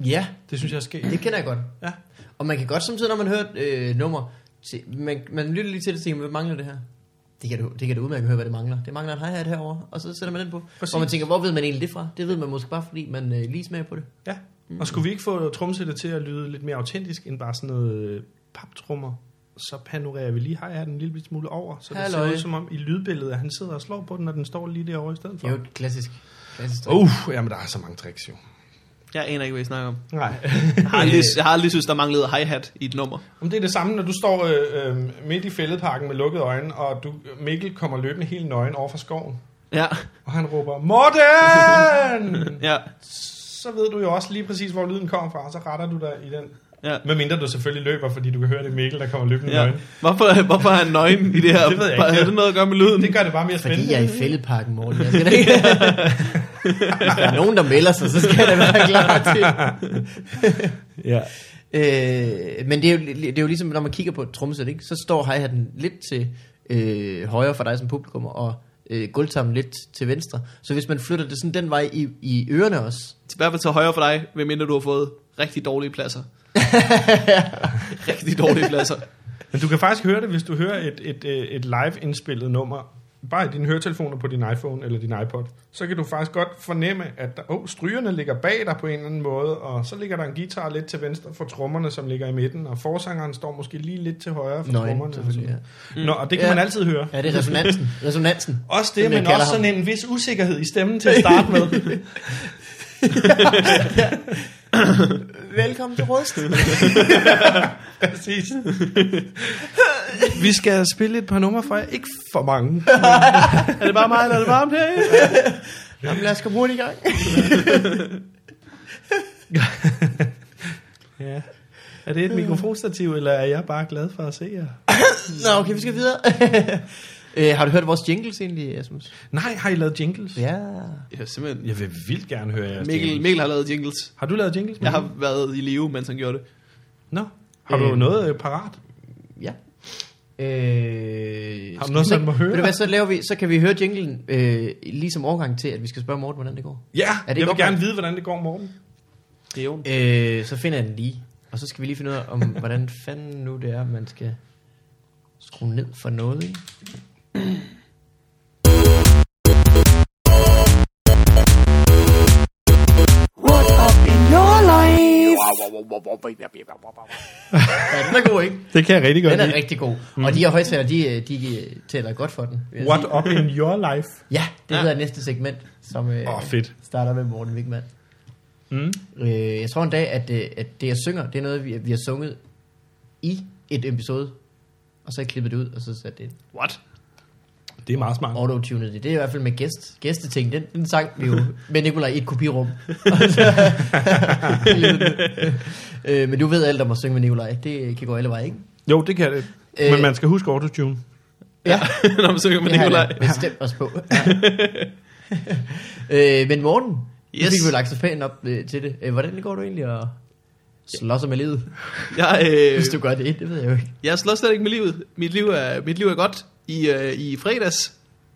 Speaker 2: Ja,
Speaker 3: Det synes jeg er sket.
Speaker 2: det kender jeg godt.
Speaker 3: Ja.
Speaker 2: Og man kan godt samtidig, når man hører et øh, nummer, se, man, man lytter lige til det og tænker, hvad mangler det her? Det kan, du, det kan du udmærket høre, hvad det mangler. Det mangler en hi-hat herovre, og så sætter man den på. Præcis.
Speaker 3: Præcis.
Speaker 2: Og man tænker, hvor ved man egentlig det fra? Det ved man måske bare, fordi man øh, lige smager på det.
Speaker 3: Ja. Og skulle vi ikke få tromsættet til at lyde lidt mere autentisk, end bare sådan noget øh, paptrummer, så panorerer vi lige har den en lille smule over, så det
Speaker 2: Halløj.
Speaker 3: ser ud som om i lydbilledet, at han sidder og slår på den, og den står lige derovre i stedet
Speaker 2: Det
Speaker 3: for.
Speaker 2: er jo et klassisk, klassisk trick.
Speaker 3: Uh, jamen der er så mange tricks jo.
Speaker 1: Jeg aner ikke, hvad I snakker om.
Speaker 3: Nej.
Speaker 1: Jeg har aldrig, jeg har aldrig synes, der manglede hi-hat i et nummer.
Speaker 3: Om det er det samme, når du står øh, øh, midt i fældeparken med lukkede øjne, og du, Mikkel kommer løbende helt nøgen over for skoven,
Speaker 1: Ja,
Speaker 3: og han råber, Morten!
Speaker 1: ja,
Speaker 3: så ved du jo også lige præcis, hvor lyden kommer fra, og så retter du dig i den.
Speaker 1: ja.
Speaker 3: Med mindre du selvfølgelig løber, fordi du kan høre det er Mikkel, der kommer løbende ja.
Speaker 1: ja.
Speaker 3: nøgen.
Speaker 1: Hvorfor, hvorfor er han nøgen i det her?
Speaker 3: Det ved jeg ikke.
Speaker 1: Har det noget at gøre med lyden?
Speaker 3: Det gør det bare mere
Speaker 2: Fordi
Speaker 3: spændende.
Speaker 2: jeg er i fældeparken, Morten. Jeg skal da ikke... Hvis der er nogen, der melder sig, så skal det være klar til.
Speaker 3: Ja.
Speaker 2: Øh, men det er, jo, det er jo ligesom, når man kigger på et trommesæt, ikke? så står hi-hatten lidt til øh, højre for dig som publikum, og øh, gulvtammen lidt til venstre. Så hvis man flytter det sådan den vej i, i ørerne også,
Speaker 1: I hvert fald til højre for dig, medmindre du har fået rigtig dårlige pladser. rigtig dårlige pladser.
Speaker 3: Men du kan faktisk høre det, hvis du hører et, et, øh, et live-indspillet nummer, bare i dine høretelefoner på din iPhone eller din iPod, så kan du faktisk godt fornemme, at der, oh, strygerne ligger bag dig på en eller anden måde, og så ligger der en guitar lidt til venstre for trommerne, som ligger i midten, og forsangeren står måske lige lidt til højre for
Speaker 2: Nøgen,
Speaker 3: trommerne. Og,
Speaker 2: selvfølgelig,
Speaker 3: sådan. Ja. Nå, og det kan
Speaker 2: Ja.
Speaker 3: man altid høre.
Speaker 2: er det resonansen. resonansen.
Speaker 3: Også
Speaker 2: Som
Speaker 3: det,
Speaker 2: jeg
Speaker 3: men
Speaker 2: kalder
Speaker 3: også sådan en vis usikkerhed i stemmen til at starte med.
Speaker 2: Velkommen til Rødst.
Speaker 3: Præcis. Vi skal spille et par numre fra jer. Ikke for mange.
Speaker 1: Er det bare mig, eller er det varmt herinde?
Speaker 2: Jamen lad os komme hurtigt i gang.
Speaker 3: Ja. Er det et mikrofonstativ, eller er jeg bare glad for at se jer?
Speaker 2: Nå, okay, vi skal videre. øh, har du hørt vores jingles egentlig, Asmus?
Speaker 3: Nej, har I lavet jingles?
Speaker 2: Ja.
Speaker 1: Ja, simpelthen.
Speaker 3: Jeg vil vildt gerne høre jeres
Speaker 1: Mikkel,
Speaker 3: jingles.
Speaker 1: Mikkel har lavet jingles.
Speaker 3: Har du lavet jingles?
Speaker 1: Jeg har været i live, mens han gjorde det.
Speaker 3: Nå. Har du
Speaker 2: Øh.
Speaker 3: noget øh, parat?
Speaker 2: Ja. Øh,
Speaker 3: Har du
Speaker 2: skal
Speaker 3: noget,
Speaker 2: vi så-
Speaker 3: man må høre?
Speaker 2: Ved du hvad, så, laver vi, så kan vi høre jinglen øh, ligesom overgang til, at vi skal spørge Morten, hvordan det går.
Speaker 3: Ja,
Speaker 2: Er det
Speaker 3: jeg vil
Speaker 2: godt,
Speaker 3: gerne
Speaker 2: man-
Speaker 3: vide, hvordan det går, Morten.
Speaker 1: Det er jo.
Speaker 2: Øh, så finder jeg den lige. Og så skal vi lige finde ud af, om, hvordan fanden nu det er, man skal skrue ned for noget, ikke?
Speaker 4: What up in your life?
Speaker 2: Ja, den er god, ikke?
Speaker 3: Det kan jeg rigtig
Speaker 2: Den er rigtig god. Mm. Og de her højtaler, de, øh, de øh, tæller godt for den. vil jeg
Speaker 3: What
Speaker 2: sige.
Speaker 3: up in your life?
Speaker 2: Ja, det ja. hedder næste segment, som øh,
Speaker 3: Åh, fedt.
Speaker 2: starter med Morten Wigman.
Speaker 3: Mm.
Speaker 2: Øh, jeg tror en dag, at, øh, at det jeg synger, det er noget, vi, vi har sunget i et episode. Og så har jeg klippet det ud, og så sat det
Speaker 1: What?
Speaker 3: Det er meget smart.
Speaker 2: autotunet. Det er i hvert fald med gæst, gæsteting. Den, den sang vi jo med Nikolaj i et kopirum. øh, men du ved alt om at synge med Nikolaj. Det kan gå alle veje, ikke?
Speaker 3: Jo, det kan det.
Speaker 2: Øh.
Speaker 3: Men man skal huske autotune.
Speaker 2: Ja,
Speaker 1: Når man synger med
Speaker 2: det har
Speaker 1: Nikolaj.
Speaker 2: jeg bestemt os på. Ja. øh, men Morten, yes. nu
Speaker 1: Yes.
Speaker 2: fik vi jo lagt så pænt op øh, til det. Øh, hvordan går du egentlig at slås med livet?
Speaker 1: Jeg, øh,
Speaker 2: Hvis du gør det, det ved jeg jo ikke.
Speaker 1: jeg slår slet ikke med livet. Mit liv er, mit liv er godt. I, øh, i fredags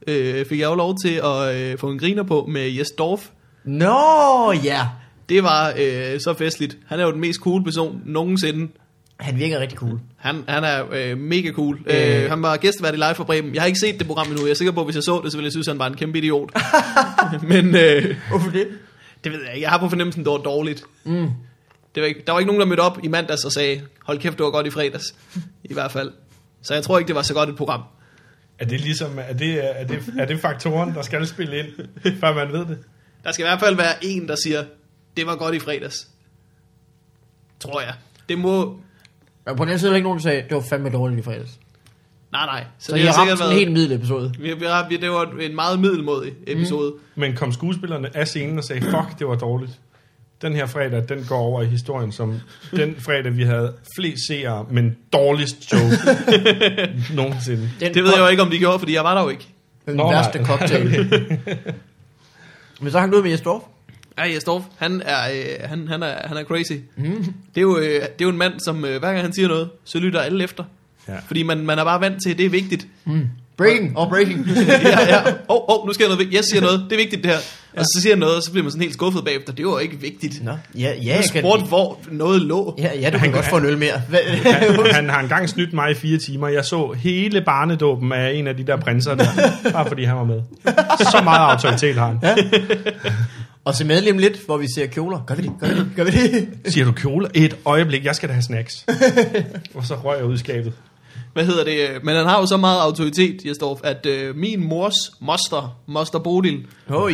Speaker 1: øh, fik jeg jo lov til at øh, få en griner på med Jes Dorf.
Speaker 2: Nå, ja.
Speaker 1: Det var øh, så festligt. Han er jo den mest cool person nogensinde.
Speaker 2: Han virker rigtig cool.
Speaker 1: Han, han er øh, mega cool. Øh, han var gæstevært i Live for Bremen. Jeg har ikke set det program endnu. Jeg er sikker på, at hvis jeg så det, så ville jeg synes, han var en kæmpe idiot. Men øh,
Speaker 2: Hvorfor det?
Speaker 1: det ved jeg ikke. Jeg har på fornemmelsen, det var dårligt. Mm. Det var ikke, der var ikke nogen, der mødte op i mandags og sagde, hold kæft, det var godt i fredags. I hvert fald. Så jeg tror ikke, det var så godt et program.
Speaker 3: Er det ligesom, er det, er det, er det faktoren, der skal spille ind, før man ved det?
Speaker 1: Der skal i hvert fald være en, der siger, det var godt i fredags. Tror jeg. Det må...
Speaker 2: Men på den anden side er der ikke nogen, der sagde, det var fandme dårligt i fredags.
Speaker 1: Nej, nej.
Speaker 2: Så jeg
Speaker 1: har
Speaker 2: ramte
Speaker 1: sikkert
Speaker 2: sådan en helt middel episode.
Speaker 1: Vi, vi, har- vi, det var en meget middelmodig
Speaker 2: Mhm.
Speaker 1: episode. Mm.
Speaker 3: Men kom skuespillerne af scenen og sagde, fuck, det var dårligt. Den her fredag, den går over i historien som den fredag, vi havde flest seere, men dårligst show nogensinde.
Speaker 2: Den
Speaker 1: Det ved jeg jo ikke, om de gjorde, fordi jeg var der jo ikke.
Speaker 2: Den
Speaker 3: Nå, nej.
Speaker 2: værste cocktail. Men så hang du ud med Jes Dorf.
Speaker 1: Ja, Jesdorf, han er, øh, han, han er, han er crazy.
Speaker 2: Mhm.
Speaker 1: Mm. Det, er jo, øh, det er jo en mand, som øh, hver gang han siger noget, så lytter alle efter.
Speaker 3: Ja.
Speaker 1: Fordi man, man er bare vant til, at det er vigtigt.
Speaker 2: Breaking og breaking.
Speaker 1: ja, ja. Oh, oh, nu sker der noget. vig- Jeg siger noget. Det er vigtigt, det her. Og så siger han noget, og så bliver man sådan helt skuffet bagefter. Det var ikke vigtigt.
Speaker 2: Nå, ja, ja,
Speaker 1: Jeg
Speaker 2: jeg kan...
Speaker 1: spurgte, hvor noget lå.
Speaker 2: Ja, ja, du kan godt få en øl mere. Hvad-
Speaker 3: Han, han har engang snydt mig i fire timer. Jeg så hele barnedåben af en af de der prinser der, bare fordi han var med. Så meget autoritet har han.
Speaker 2: og se medlem lidt, hvor vi ser kjoler. Gør vi det? Gør vi det? Gør vi det?
Speaker 3: Siger du kjole? Et øjeblik, jeg skal da have snacks. Og så røg jeg ud i skabet.
Speaker 1: Hvad hedder det? øh, Men han har jo så meget autoritet, Jesdorf, at øh, min mors moster, moster Bodil,
Speaker 2: Oj.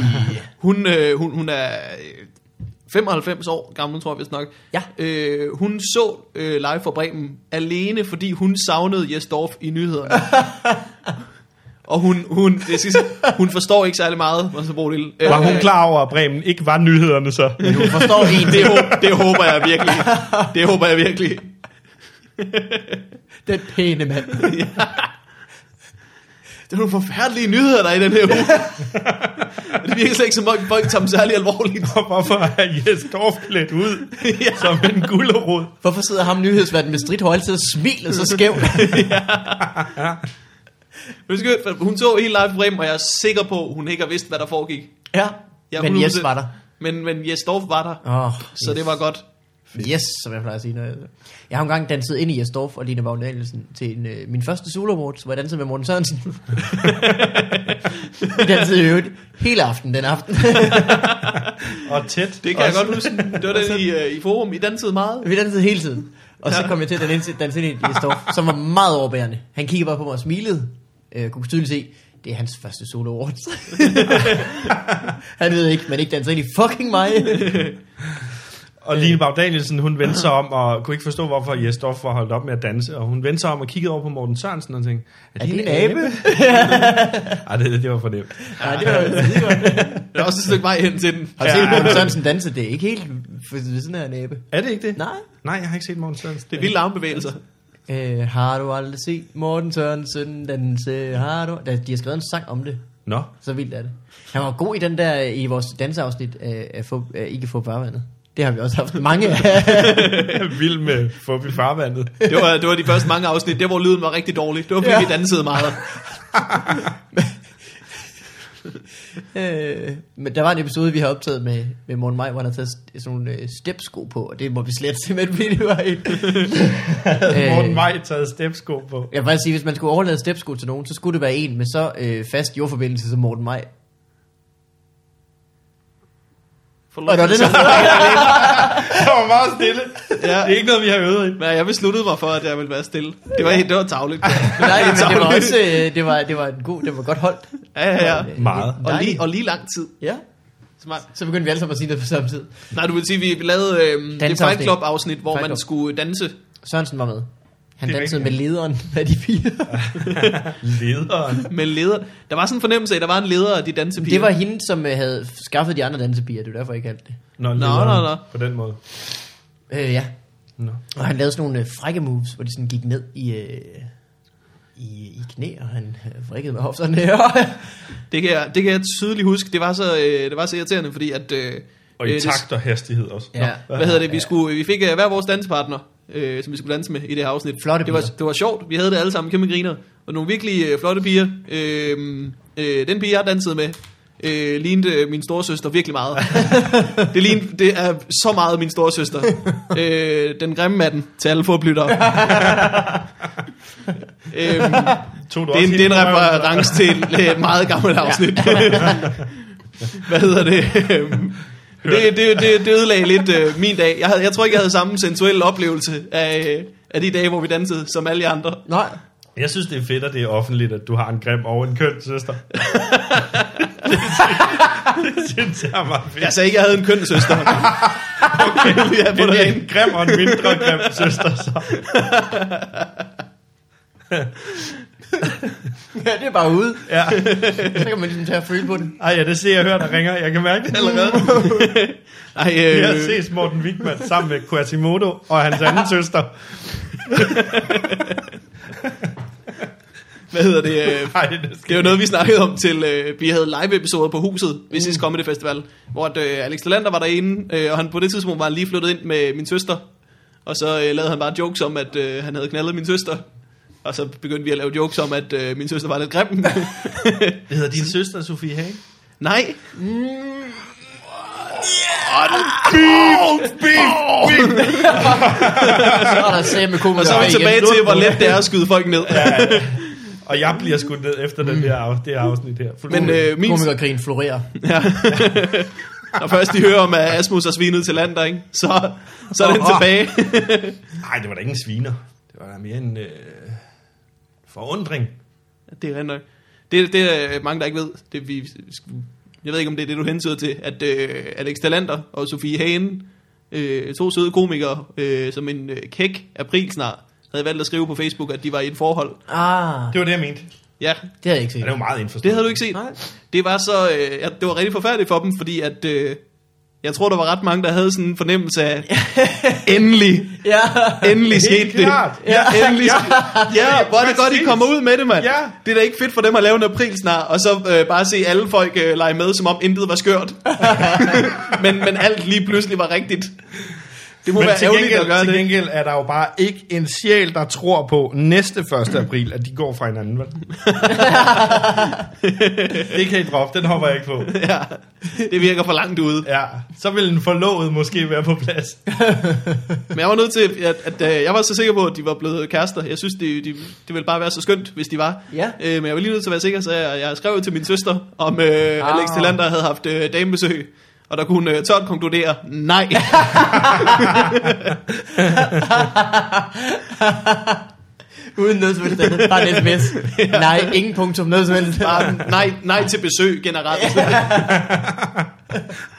Speaker 1: Hun, øh, hun, hun er øh, 95 år gammel, tror jeg vist nok.
Speaker 2: Ja.
Speaker 1: Øh, hun så øh, live fra Bremen alene, fordi hun savnede Jes Dorf i nyhederne. Og hun, hun, det skal jeg sige, hun forstår ikke særlig meget, man så Bodil. Øh,
Speaker 3: Var hun klar over, at Bremen ikke var nyhederne så?
Speaker 2: Du forstår en
Speaker 1: Det,
Speaker 2: det.
Speaker 1: håb, det håber jeg virkelig. Det håber jeg virkelig.
Speaker 2: Den pæne mand.
Speaker 1: Det er nogle forfærdelige nyheder, der er i den her uge. det virker slet ikke som om, folk tager dem særlig alvorligt.
Speaker 3: Hvorfor er Jes Dorf klædt ud
Speaker 1: Ja.
Speaker 3: som en gulderod?
Speaker 2: Hvorfor sidder ham nyhedsverden med stridthår altid og smiler så skævt?
Speaker 1: Men skønt, for hun så hele live fra Bremen, og jeg er sikker på, hun ikke har vidst, hvad der foregik.
Speaker 2: ja.
Speaker 1: Jeg
Speaker 2: Men
Speaker 1: kunne
Speaker 2: yes
Speaker 1: huske
Speaker 2: var
Speaker 1: det.
Speaker 2: der.
Speaker 1: Men, men Jes Dorf var der,
Speaker 2: Åh,
Speaker 1: så det var godt.
Speaker 2: Yes, som jeg plejer at sige. Når jeg, jeg har engang danset ind i Jesdorf og Line Wagner Nielsen til en, øh, min første Solo Awards, hvor jeg dansede med Morten Sørensen. Vi dansede i øvrigt hele aften den aften.
Speaker 3: Og tæt.
Speaker 1: Det kan jeg
Speaker 3: også.
Speaker 1: godt huske. Det var den i, øh, i forum. I dansede meget.
Speaker 2: Vi dansede hele tiden. Og så kom jeg til at danse, danse ind i Jesdorf, som var meget overbærende. Han kiggede bare på mig og smilede. Øh, kunne tydeligt se, det er hans første Solo Awards. Han ved ikke, man ikke danser ind i fucking mig.
Speaker 3: Og Line Bag Danielsen, hun vendte sig om og kunne ikke forstå, hvorfor Jesdorf var holdt op med at danse. Og hun vendte sig om og kiggede over på Morten Sørensen og tænkte, er det, en abe? Ej, det, det var for nemt.
Speaker 2: Nej, det var jo skidegodt.
Speaker 1: Der er også et stykke vej hen til den.
Speaker 2: Har du set Morten Sørensen danse? Det er ikke helt for ved siden af en abe.
Speaker 3: Er det ikke det?
Speaker 2: Nej.
Speaker 3: Nej, jeg har ikke set Morten Sørensen.
Speaker 1: Det er vilde armbevægelser.
Speaker 2: Øh, har du aldrig set Morten Sørensen danse? Har du? Da, de har skrevet en sang om det.
Speaker 3: Nå,
Speaker 2: Så vildt er det. Han var god i den der, i vores danseafsnit af, af, få, af Ikke få farvandet. Det har vi også haft mange af.
Speaker 3: jeg er vild med fup i farvandet.
Speaker 1: Det var, det var de første mange afsnit, der hvor lyden var rigtig dårlig. Det var fordi, ja.
Speaker 2: Ja.
Speaker 1: vi dansede meget.
Speaker 2: øh, men der var en episode, vi har optaget med, med Morten Maj, hvor han har taget st- sådan nogle øh, stepsko på, og det må vi slet simpelthen blive det var helt.
Speaker 3: Havde
Speaker 2: Øh.
Speaker 3: Morten Maj taget stepsko på.
Speaker 2: Jeg vil faktisk sige, hvis man skulle overlade stepsko til nogen, så skulle det være en med så øh, fast jordforbindelse som Morten Maj.
Speaker 1: For
Speaker 2: Og det var det, der,
Speaker 3: Det var meget stille.
Speaker 1: Ja.
Speaker 3: Det er ikke noget, vi har øvet i.
Speaker 1: Men jeg besluttede mig for, at jeg ville være stille. Det var, det var tavligt.
Speaker 2: nej, men det var også, øh, det var, det var en god, det var godt holdt.
Speaker 1: Ja, ja, ja.
Speaker 3: Meget.
Speaker 1: Og lige, og lige lang tid.
Speaker 2: Ja.
Speaker 1: Smart.
Speaker 2: Så begyndte vi alle sammen at sige det på samme tid.
Speaker 1: Nej, du vil sige, vi lavede øh, det
Speaker 2: Danseafsnit.
Speaker 1: Fight Club afsnit, hvor
Speaker 2: Fight
Speaker 1: man
Speaker 2: Club.
Speaker 1: skulle danse.
Speaker 2: Sørensen var med. Han
Speaker 3: Det er
Speaker 2: dansede med
Speaker 3: rigtigt,
Speaker 2: lederen af de fire.
Speaker 3: Lederen.
Speaker 1: med leder. Der var sådan en fornemmelse af, at der var en leder af de dansepiger.
Speaker 2: Det var hende, som øh, havde skaffet de andre dansepiger. Det var derfor, jeg kaldte det.
Speaker 3: Nå,
Speaker 1: nå, nå.
Speaker 3: På den måde.
Speaker 2: Øh, ja.
Speaker 3: Nå.
Speaker 2: Og han lavede sådan nogle øh, frække moves, hvor de sådan gik ned i, øh, i, i knæ, og han øh, vrikkede med hofterne.
Speaker 1: det, kan jeg, det kan jeg tydeligt huske. Det var så, øh, det var så irriterende, fordi at... Øh,
Speaker 3: Og i
Speaker 1: øh,
Speaker 3: takt og hastighed også.
Speaker 2: Ja.
Speaker 3: Nå,
Speaker 1: Hvad hedder det? Vi, skulle, vi fik øh, hver vores dansepartner, øh, som vi skulle danse med i det her afsnit.
Speaker 2: Flotte
Speaker 1: det var,
Speaker 2: piger.
Speaker 1: det var sjovt. Vi havde det alle sammen kæmpe griner. Og nogle virkelig øh, flotte piger. Øh, øh, den pige, jeg dansede med, øh, lignede øh, min storesøster virkelig meget. det, lignede, det er så meget min storesøster. øh, den grimme af den til alle forblyttere. øhm,
Speaker 3: Tog du
Speaker 1: det er, en, det
Speaker 3: også
Speaker 1: er en
Speaker 3: hende på røven?
Speaker 1: reference til et øh, meget gammelt afsnit. Hvad hedder det? Øhm, det, det, det, det ødelagde lidt øh, min dag. Jeg, havde, jeg tror ikke, jeg havde samme sensuelle oplevelse af, øh, af de dage, hvor vi dansede, som alle jer andre.
Speaker 2: Nej.
Speaker 3: Jeg synes, det er fedt, at det er offentligt, at du har en grim og en køn søster. det, synes, det synes jeg er meget fedt.
Speaker 1: Jeg sagde ikke, jeg havde en køn søster. okay, lige have på det
Speaker 3: Men det er
Speaker 1: rene.
Speaker 3: en grim og en mindre grim søster, så.
Speaker 2: Ja, det er bare ude.
Speaker 3: Ja.
Speaker 2: Så kan man ligesom tage og føle på det.
Speaker 3: Ej, ja, det ser jeg hører, der ringer. Jeg kan mærke det allerede.
Speaker 1: Ej,
Speaker 3: Jeg har
Speaker 1: øh,
Speaker 3: set Morten Wigman sammen med Quasimodo og hans anden søster.
Speaker 1: hvad hedder det? Øh,
Speaker 3: Ej, det
Speaker 1: det
Speaker 3: skal
Speaker 1: var noget, vi snakkede om til, øh, vi havde live-episoder på huset ved sidste Comedy Festival, hvor at, øh, Alex Dalander var derinde, øh, og han på det tidspunkt var han lige flyttet ind med min søster, og så øh, lavede han bare jokes om, at øh, han havde knaldet min søster, og så begyndte vi at lave jokes om, at øh, min søster var lidt grim.
Speaker 3: Det hedder din søster, Sofie Hagen.
Speaker 1: Nej,
Speaker 2: Så er der sag med komikere.
Speaker 1: og så er vi tilbage til, hvor let det er at skyde folk ned.
Speaker 3: Og jeg bliver skudt ned efter den der, af- det her afsnit her. Fuld-
Speaker 1: Mm. Men øh, min,
Speaker 2: Komikerkrigen florerer.
Speaker 1: Ja. Når først de hører om, at Asmus er svinet til lander, ikke? Så, så er den tilbage.
Speaker 3: Nej, det var da ikke en sviner. Det var da mere en øh, forundring.
Speaker 1: det er rent nok. Det, det er mange, der ikke ved. Det, vi, jeg ved ikke, om det er det, du hensyder til, at øh, Alex Dalander og Sofie Hagen, øh, to søde komikere, øh, som en øh, kæk april snart, havde valgt at skrive på Facebook, at de var i et forhold.
Speaker 2: Ah,
Speaker 3: Det var det, jeg mente.
Speaker 1: Ja,
Speaker 2: det har jeg ikke
Speaker 3: Ja,
Speaker 2: set.
Speaker 3: det var meget indforstået.
Speaker 1: det havde du ikke set.
Speaker 2: Nej.
Speaker 1: Det var så, øh, ja, det var rigtig forfærdeligt for dem, fordi at, øh, jeg tror, der var ret mange, der havde sådan en fornemmelse af, endelig,
Speaker 2: Ja.
Speaker 1: Endelig
Speaker 3: Helt
Speaker 1: skete det.
Speaker 3: klart.
Speaker 1: Ja, endelig ja. ja, hvor er det godt, I
Speaker 3: Præcis.
Speaker 1: kommer ud med det, mand.
Speaker 3: Ja.
Speaker 1: Det er da ikke fedt for dem at lave en aprilsnar, og så øh, bare se alle folk øh, lege med, som om intet var skørt. men, men alt lige pludselig var rigtigt. Det må
Speaker 3: Men
Speaker 1: være
Speaker 3: til
Speaker 1: ærgerligt at gøre
Speaker 3: gengæld, til
Speaker 1: det.
Speaker 3: gengæld er der jo bare ikke en sjæl, der tror på næste 1. april, at de går fra hinanden, vel? det kan I droppe, den hopper jeg ikke på.
Speaker 1: Ja. Det virker for langt ude.
Speaker 3: Ja, så vil en forlovet måske være på plads.
Speaker 1: Men jeg var nødt til, at, at, at øh, jeg var så sikker på, at de var blevet kærester. Jeg synes, det, de, det ville bare være så skønt, hvis de var.
Speaker 2: Ja.
Speaker 1: Øh, men jeg var lige nødt til at være sikker, så jeg, jeg skrev til min søster, om øh, Alex
Speaker 2: Ah.
Speaker 1: Delander havde haft øh, damebesøg. Og der kunne hun øh, tørt konkludere, nej.
Speaker 2: Uden noget som helst andet. Bare en sms. Nej, ingen punktum. Noget som helst.
Speaker 1: Bare nej, nej til besøg generelt.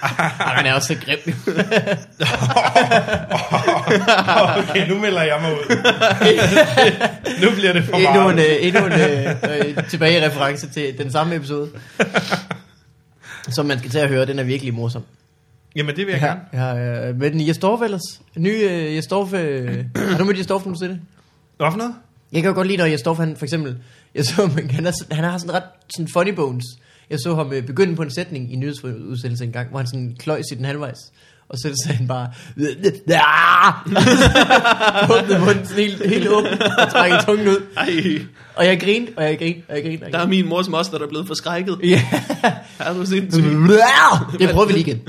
Speaker 2: Ej, man er også så grim.
Speaker 3: Okay, nu melder jeg mig ud. nu bliver det for
Speaker 2: endnu en,
Speaker 3: meget.
Speaker 2: øh, endnu en øh, øh, tilbage reference til den samme episode. Som man skal til at høre, den er virkelig morsom.
Speaker 3: Jamen, det vil jeg
Speaker 2: Ja,
Speaker 3: gerne.
Speaker 2: ja, øh, men Jesdorf ellers? Ny øh, Jesdorf... Øh, har du mødt Jesdorf, når du ser det?
Speaker 3: Hvad for noget?
Speaker 2: Jeg kan jo godt lide, når Jesdorf, han for eksempel... Jeg så, men han, er, sådan- han har sådan ret sådan funny bones. Jeg så ham øh, begynde på en sætning i en nyhedsudsendelsen en gang, hvor han sådan kløj sit den halvvejs. Og så sagde han bare... Åbnede munden sådan helt, helt åben og trækkede tungen ud.
Speaker 1: Ej,
Speaker 2: Og jeg grinede, og jeg grinede, og jeg grinede. og jeg
Speaker 1: der er min mors moster, der er blevet forskrækket.
Speaker 2: grinede. Ja.
Speaker 1: Er du sindssyg?
Speaker 2: Mhm. Det prøver vi lige igen.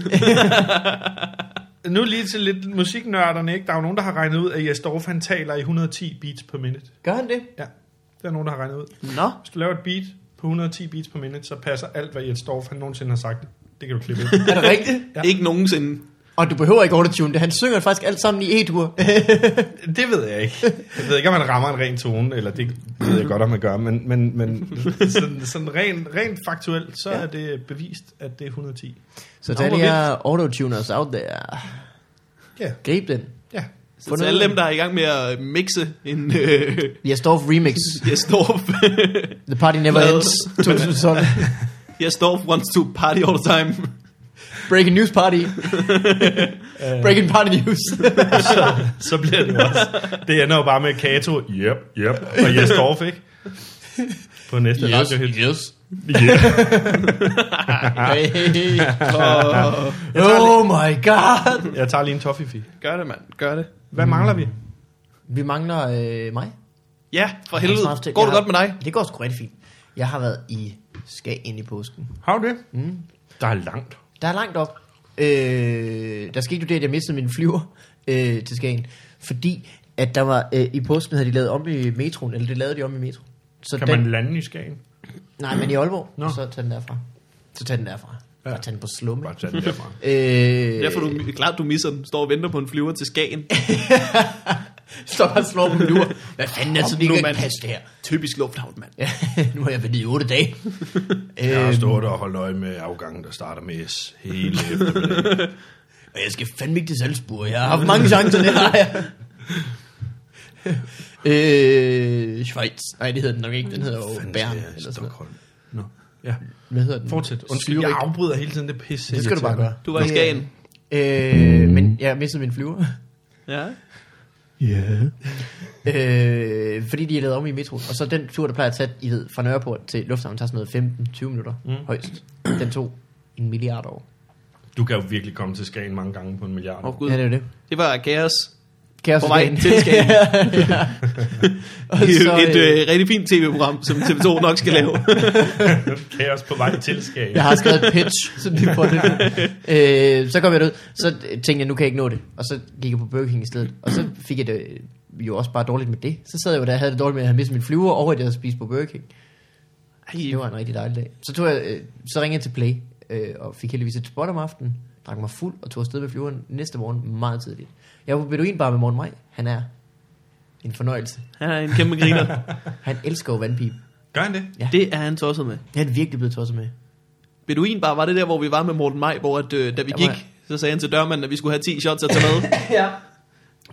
Speaker 3: Nu lige til lidt musiknørderne, ikke? Der er jo nogen, der har regnet ud, at Jes Dorf, han taler i 110 beats per minute.
Speaker 2: Gør han det?
Speaker 3: Ja, der er nogen, der har regnet ud.
Speaker 2: Nå.
Speaker 3: Hvis du laver et beat på 110 beats per minute, så passer alt, hvad Jes Dorf, han nogensinde har sagt. Det kan du klippe ud.
Speaker 2: Er det rigtigt?
Speaker 3: Ja.
Speaker 1: Ikke nogensinde.
Speaker 2: Og du behøver ikke autotune det. Han synger faktisk alt sammen i E-dur.
Speaker 3: Det ved jeg ikke. Jeg ved ikke, om man rammer en ren tone, eller det ved jeg godt, om man gør, men, men, men sådan, sådan rent, rent faktuelt, så ja. er det bevist, at det er 110.
Speaker 2: Så
Speaker 3: Nå,
Speaker 2: der
Speaker 3: hvor
Speaker 2: er autotuners out there.
Speaker 3: Ja,
Speaker 2: Grib den.
Speaker 3: ja.
Speaker 1: Så til alle dem, der er i gang med at mixe en øh,
Speaker 2: Jeg står for remix.
Speaker 1: Jesdorf.
Speaker 2: The party never
Speaker 1: Hvad?
Speaker 2: ends. 2012.
Speaker 1: Jesdorf wants to party all the time.
Speaker 2: Breaking news party. Breaking party news.
Speaker 3: Så bliver det også. Det ender jo bare med Kato, yep, yep, og Jes Dorf, ikke? På næste yes, radiohit.
Speaker 5: yes.
Speaker 2: hey.
Speaker 1: Og
Speaker 2: Oh my god.
Speaker 3: Jeg tager lige en toffefi.
Speaker 1: gør det, mand. Gør det.
Speaker 3: Hvad mm. mangler vi?
Speaker 2: Vi mangler øh, mig.
Speaker 1: Ja, for
Speaker 2: Jeg
Speaker 1: helvede.
Speaker 2: har haft-
Speaker 1: Går det
Speaker 2: jeg har-
Speaker 1: godt med dig?
Speaker 2: Det går sgu rigtig fint. Jeg har været i Skagen i påsken.
Speaker 3: Har du det? Mm. Der er langt.
Speaker 2: Der er langt op. Øh, der skete jo det, at jeg mistede min flyver øh, til Skagen, fordi at der var, øh, i påsken havde de lavet om i metroen, eller det lavede de om i metroen. Så
Speaker 3: Kan
Speaker 2: den,
Speaker 3: man lande i Skagen?
Speaker 2: Nej, men i Aalborg,
Speaker 3: Nå.
Speaker 2: no. så tag den derfra. Så tag den derfra. Ja. Og tag den på slum.
Speaker 3: Bare tage den derfra.
Speaker 2: Øh,
Speaker 1: Derfor er du klart, du misser den. Står og venter på en flyver til Skagen.
Speaker 2: Står bare og slår på min ur. Hvad fanden er det, så
Speaker 1: Kom
Speaker 2: vi
Speaker 1: nu,
Speaker 2: kan
Speaker 1: mand.
Speaker 2: passe det her?
Speaker 1: Typisk lufthavn, mand.
Speaker 2: Ja, nu har jeg været i otte dage.
Speaker 3: Jeg har
Speaker 2: Øhm,
Speaker 3: stået og holdt øje med afgangen, der starter med S hele eftermiddagen.
Speaker 2: Øh, Og jeg skal fandme ikke til Salzburg. Jeg har haft mange chancer, det har jeg. øh, Schweiz. Nej, det hedder den nok ikke. Den hedder jo
Speaker 3: Fanden
Speaker 2: Bern.
Speaker 3: skal jeg i
Speaker 2: Eller sådan noget.
Speaker 3: Stockholm. Nå. Ja.
Speaker 2: Hvad hedder den?
Speaker 3: Fortsæt. Undskyld, jeg
Speaker 2: Zürich.
Speaker 3: afbryder hele tiden det pisse.
Speaker 2: Det skal du bare gøre.
Speaker 1: Du var i Skagen.
Speaker 2: Øh, men jeg mistede min flyver.
Speaker 1: Ja.
Speaker 2: Øh, fordi de er lavet om i metro. Og så den tur, der plejer at tage, I ved, fra Nørreport til Lufthavnen, tager sådan noget 15-20 minutter mm. højst. Den tog en milliard år.
Speaker 3: Du kan jo virkelig komme til Skagen mange gange på en milliard.
Speaker 1: Åh,
Speaker 3: Oh.
Speaker 1: oh, gud.
Speaker 2: Ja, det er jo det.
Speaker 1: Det var kaos.
Speaker 2: Kaos
Speaker 1: På vej
Speaker 2: i
Speaker 1: til Skagen.
Speaker 2: ja. Og så,
Speaker 1: Et
Speaker 2: øh,
Speaker 1: øh, rigtig fint tv-program, som TV2 nok skal lave.
Speaker 3: Kaos på vej til Skagen.
Speaker 2: Jeg har skrevet et pitch, så de får det. Øh, så kom jeg derud, så tænkte jeg, nu kan jeg ikke nå det. Og så gik jeg på Burger King i stedet. Og så fik jeg det øh, jo også bare dårligt med det. Så sad jeg jo der og havde det dårligt med, at jeg havde mistet min flyver, og at jeg havde spist på Burger King. Ej, det var en rigtig dejlig dag. Så, tog jeg, øh, så ringede jeg til Play, øh, og fik heldigvis et spot om aftenen. Drak mig fuld og tog afsted med flyveren næste morgen meget tidligt. Jeg var på Beduinbar med Morten Maj. Han er en fornøjelse.
Speaker 1: Han er en kæmpe griner.
Speaker 2: Han elsker jo vandpipe.
Speaker 3: Gør han det?
Speaker 1: Det er han tosset med.
Speaker 2: Det er han virkelig blevet tosset med.
Speaker 1: Beduin bare var det der, hvor vi var med Morten Maj, hvor at, øh, da vi
Speaker 2: Ja, hvor
Speaker 1: gik, så sagde han til dørmanden, at vi skulle have 10 shots at tage med.
Speaker 2: Ja.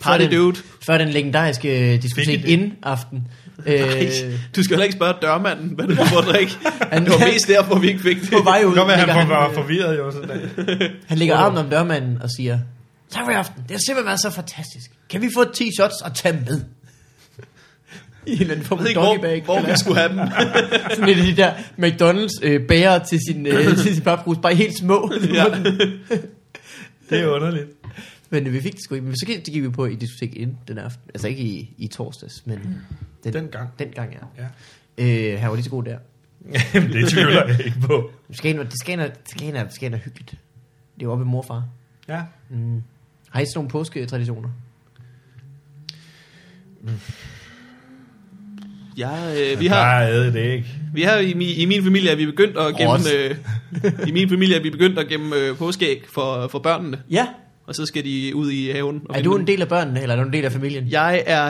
Speaker 1: Party dude.
Speaker 2: Før den legendariske øh,
Speaker 3: Fik
Speaker 2: diskotek
Speaker 3: I det?
Speaker 2: ind aften. Øh,
Speaker 1: Ej, du skal heller ikke spørge dørmanden, hvad det er for drik.
Speaker 2: Han-
Speaker 1: Det var mest derfor, vi ikke fik det.
Speaker 2: på vej
Speaker 3: Det
Speaker 2: ud,
Speaker 3: kan godt være,
Speaker 2: ligger
Speaker 3: han
Speaker 2: han,
Speaker 3: får- var
Speaker 2: øh,
Speaker 3: forvirret jo sådan der.
Speaker 2: han lægger armen om dørmanden og siger, tak for i aften, det har simpelthen været så fantastisk. Kan vi få 10 shots og tage med? I en eller anden
Speaker 1: Jeg
Speaker 2: form for
Speaker 1: ved ikke,
Speaker 2: doggy bag.
Speaker 1: hvor, hvor vi skulle have dem.
Speaker 2: Sådan et af de der McDonald's øh, bærer til sin, øh, til sin papbrus, bare helt små.
Speaker 1: Ja.
Speaker 3: Det er underligt.
Speaker 2: Men øh, vi fik det sgu ikke. Men så gik, det gik vi på i diskotek ind den aften. Altså ikke i, i torsdags,
Speaker 1: Mm.
Speaker 2: men den,
Speaker 3: Dengang.
Speaker 2: Den gang, ja.
Speaker 3: Ja.
Speaker 2: Øh, han var lige så god der.
Speaker 3: Jamen, det tvivler jeg ikke på.
Speaker 2: Skagen, var- det Skagen, er, Skagen, er, Skagen er hyggeligt. Det er jo oppe i morfar.
Speaker 3: Ja.
Speaker 2: Mm. Har I sådan nogle påsketraditioner?
Speaker 1: Ja, øh, vi,
Speaker 3: Vi har...
Speaker 1: har,
Speaker 3: Jeg æder det ikke.
Speaker 1: vi har i, mi, i min familie, er vi begyndt at gemme,
Speaker 2: Rost.
Speaker 1: øh, i min familie er vi begyndt at gemme øh, påskæg for, for børnene,
Speaker 2: Ja.
Speaker 1: og så skal de ud i haven. Og
Speaker 2: Er
Speaker 1: finde
Speaker 2: du
Speaker 1: dem.
Speaker 2: en del af børnene, eller er du en del af familien?
Speaker 1: Jeg er...